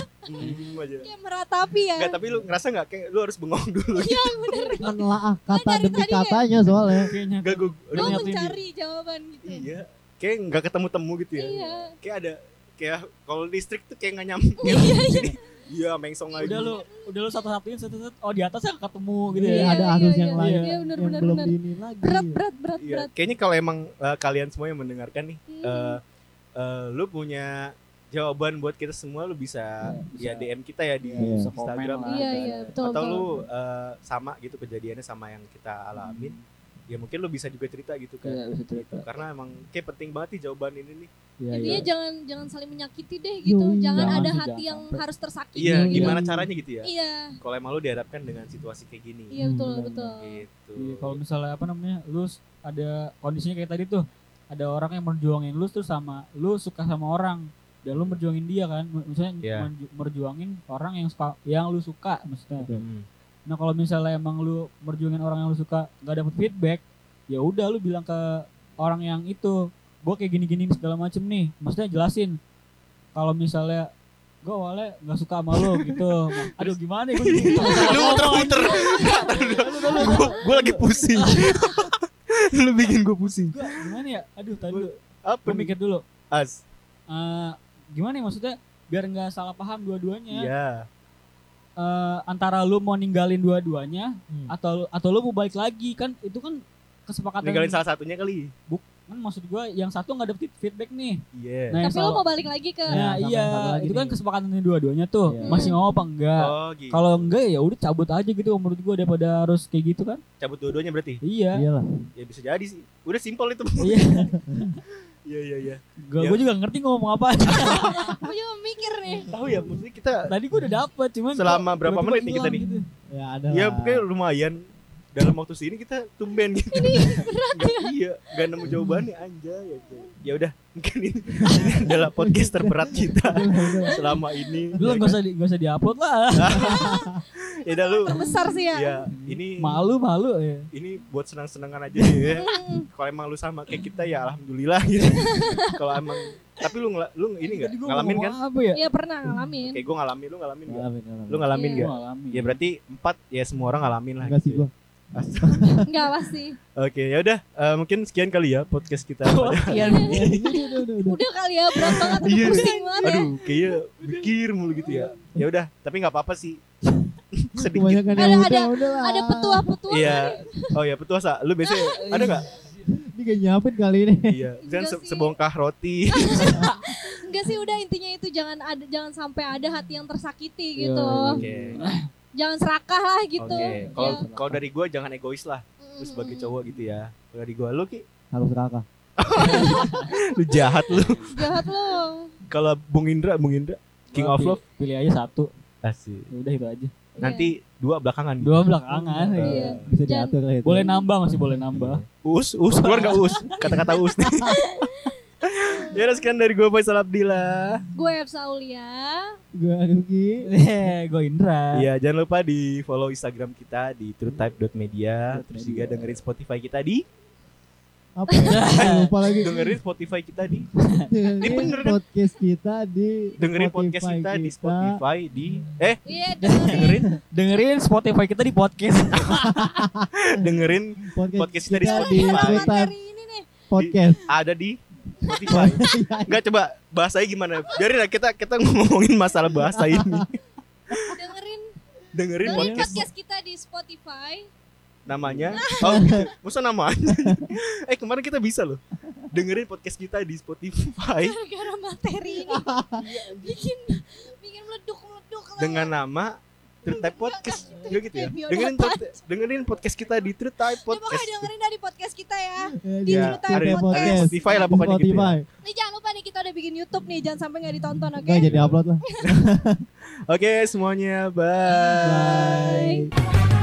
B: Hmm, aja.
D: kayak meratapi ya
B: Nggak, tapi lu ngerasa nggak kayak lu harus bengong dulu
D: iya bener
E: menelaah kata
D: Kan dari
E: demi
D: tadi
E: katanya soalnya
C: kayaknya
B: Gak gue
D: gue
C: nyatuin dia.
D: mencari jawaban gitu
B: Iya. Kayak nggak ketemu temu gitu ya.
D: Iya.
B: Kayak ada kayak kalau listrik tuh kayak nggak nyambung. Iya. Iya, mengsong lagi.
C: udah lu udah lu satu satuin satu satu oh di atasnya ketemu gitu
E: Iya,
C: ya
E: ada
D: iya,
E: arus
D: iya,
E: yang
D: iya.
E: lain
D: Iya, bener,
E: yang
D: bener,
E: belum
D: bener.
E: diini lagi
D: berat berat berat
B: Iya.
D: berat
B: Kayaknya kalau emang eh, kalian semua yang mendengarkan nih, eh
D: Hmm.
B: eh, lu punya jawaban buat kita semua lu bisa ya
C: Iya, bisa.
B: DM kita ya di
E: Iya.
C: Bisa komen
B: Instagram
C: lah,
D: iya
C: ada.
D: iya betul
B: Kan? atau
D: betul
B: lu eh, sama gitu kejadiannya sama yang kita alamin ya mungkin lu bisa juga cerita gitu kan
C: Iya, bisa cerita.
B: Gitu. karena emang kayak penting banget nih jawaban ini nih
C: Iya,
D: Intinya
C: iya.
D: jangan jangan saling menyakiti deh gitu.
E: Yoi.
D: jangan,
C: Jangan
D: ada
C: sih,
D: hati
C: jangan
D: yang
C: sampai.
D: harus tersakiti.
B: iya
D: gitu.
B: gimana caranya gitu ya
D: Iya,
B: kalau emang lu dihadapkan dengan situasi kayak gini
D: iya betul
C: Hmm.
D: betul.
B: gitu
C: Iya, kalau misalnya apa namanya? Lu s- ada kondisinya kayak tadi tuh. Ada orang yang merjuangin lu terus sama lu suka sama orang dan lu merjuangin dia kan. M- Misalnya
B: Iya.
C: merju- merjuangin orang yang suka yang lu suka maksudnya.
B: Hmm.
C: Nah, kalau misalnya emang lu merjuangin orang yang lu suka nggak dapet feedback, ya udah lu bilang ke orang yang itu, gue kayak gini-gini segala macem nih. Maksudnya jelasin. Kalau misalnya gue awalnya nggak suka sama lu gitu. Aduh gimana ya gue
B: lu muter-muter gue lagi pusing lu bikin gue pusing
C: Gua gimana ya? Aduh tadi dulu.
B: apa
C: Gua
B: nih
C: mikir dulu.
B: as
C: Eh, gimana ya maksudnya biar nggak salah paham dua-duanya
B: iya
C: Eh, antara lu mau ninggalin dua-duanya
E: Hmm.
C: atau atau lu mau balik lagi kan itu kan kesepakatan
B: ninggalin salah satunya kali
C: kan maksud gua yang satu nggak dapet feedback nih
B: iya
C: Nah, yang
D: Tapi lo
C: salah-
D: mau balik lagi ke
C: Nah,
E: sama yang
C: iya,
E: satu lagi
C: itu kan
E: nih.
C: kesepakatan dua-duanya tuh.
E: Iya.
C: Masih mau apa enggak?
B: oh gitu
C: Nah, Kalau enggak ya udah cabut aja gitu menurut gua daripada harus kayak gitu kan.
B: cabut dua-duanya berarti
C: Iya.
E: iyalah
B: ya bisa jadi sih udah simpel itu
C: Iya.
B: iya iya iya
C: Gua,
B: Iya.
C: gua juga ngerti ngomong apa.
D: aku juga mikir nih.
B: tahu ya maksudnya kita
C: Tadi gua udah dapet cuman
B: Selama
C: kok
B: berapa
C: tiba-tiba
B: menit nih kita
C: hilang
B: nih?
C: gitu.
E: ya ada
B: ya
E: lah.
B: pokoknya lumayan dalam waktu sini kita tumben gitu Nggak- iya gak nemu jawabannya anjay anjay. ya udah mungkin ini ini adalah podcast terberat kita selama ini
C: Lu
B: ya kan?
C: enggak usah di, nggak usah diupload lah.
B: ya udah lu
D: Terbesar sih ya.
B: ya ini
C: Malu malu ya.
B: ini buat senang-senangan aja ya
D: Hmm.
B: kalau emang lu sama kayak kita ya alhamdulillah gitu kalau emang tapi lu ngela- lu ini nggak
C: Tadi gua
B: ngalamin
C: ngomong
B: kan
C: Apa ya?
D: Iya pernah ngalamin.
B: kayak gue ngalamin lu ngalamin nggak
E: Ngalamin, ngalamin.
B: lu ngalamin
D: Iya.
B: nggak
C: Ngalamin.
B: ya berarti empat ya semua orang ngalamin lah
E: enggak sih
B: gitu ya.
E: gua
D: Enggak pasti.
B: Oke, ya udah Eh, mungkin sekian kali ya podcast kita.
C: Oh, iya.
E: Udah, udah, udah, udah.
D: Udah kali ya berat banget
B: Iya.
D: udah pusing banget ya.
B: Aduh, kayaknya mikir mulu gitu ya. Ya udah, tapi nggak apa-apa sih. Sedikit.
E: kebanyakan
D: Ada-
E: yang
D: ada-
E: udah udah lah
D: Ada petua-petua.
B: Iya. Oh ya, petuasa, lu biasanya ada nggak?
E: ini kayak nyiapin kali ini
B: Iya, misalnya se-
D: Iya. sih. Gitu.
B: sebongkah roti.
D: Enggak sih udah intinya itu jangan ada jangan sampai ada hati yang
C: Iya,
D: tersakiti gitu.
B: Oke.
D: Jangan serakah lah gitu.
B: Oke. Kalau
D: Ya.
B: kalau dari gua jangan egois lah, lu
D: Mm,
B: sebagai
D: mm,
B: cowok gitu ya. Kalau dari gua lu ki,
E: harus kakak
B: lu jahat lu.
D: mm. Jahat lo.
B: Kalau Bung Indra, Bung Indra King
C: Gua
B: of
C: pi-
B: Love
C: Pilih aja satu.
B: Asik.
C: Ya Udah itu aja.
D: Iya.
B: Nanti dua belakangan gitu.
C: Dua belakangan.
B: Eh,
C: iya.
E: bisa
D: Jangan-
E: diatur lah itu
C: Boleh nambah masih boleh nambah.
B: Us, us, keluar gak us? Kata-kata us nih. ya udah sekian dari gue Faisal Abdillah.
D: Gue Epsa Aulia.
E: gua rugi
C: Eh, gue Indra.
B: Iya, jangan lupa di follow Instagram kita di truetype.media. Terus juga dengerin Spotify kita di
E: apa ya? lupa lagi
B: dengerin Spotify kita di Ini
E: dengerin
B: bener kan?
E: podcast kita di
B: dengerin podcast kita, di Spotify di eh
D: Iya,
B: dengerin
C: Dengerin Spotify kita di podcast.
B: dengerin
E: podcast,
B: podcast kita di
E: di
B: Spotify.
D: dengerin
E: Spotify
D: materi ini nih.
E: podcast
B: ada di Spotify. Enggak coba bahasanya gimana? Biarin lah kita kita ngomongin masalah bahasa ini.
D: Dengerin
B: Dengerin
D: dengerin
B: podcast
D: podcast kita di Spotify.
B: namanya oh gitu masa namanya eh kemarin kita bisa loh dengerin podcast kita di Spotify
D: Gara-gara materi ini bikin bikin meleduk-meleduk lah.
B: dengan nama True Type Podcast juga gitu ya
D: Bio
B: dengerin
D: dapat.
B: pod- dengerin podcast kita di True Type
D: Ya pokoknya
B: Podcast
D: dengerin dari podcast kita ya.
E: di
B: ya
D: True
B: ada
D: Type
B: di
D: Podcast.
B: ada di Spotify lah pokoknya gitu ya.
E: Spotify
D: Nih jangan lupa nih kita udah bikin YouTube nih, jangan sampai nggak ditonton, oke?
E: Nggak jadi upload lah
B: oke semuanya bye.
D: Bye.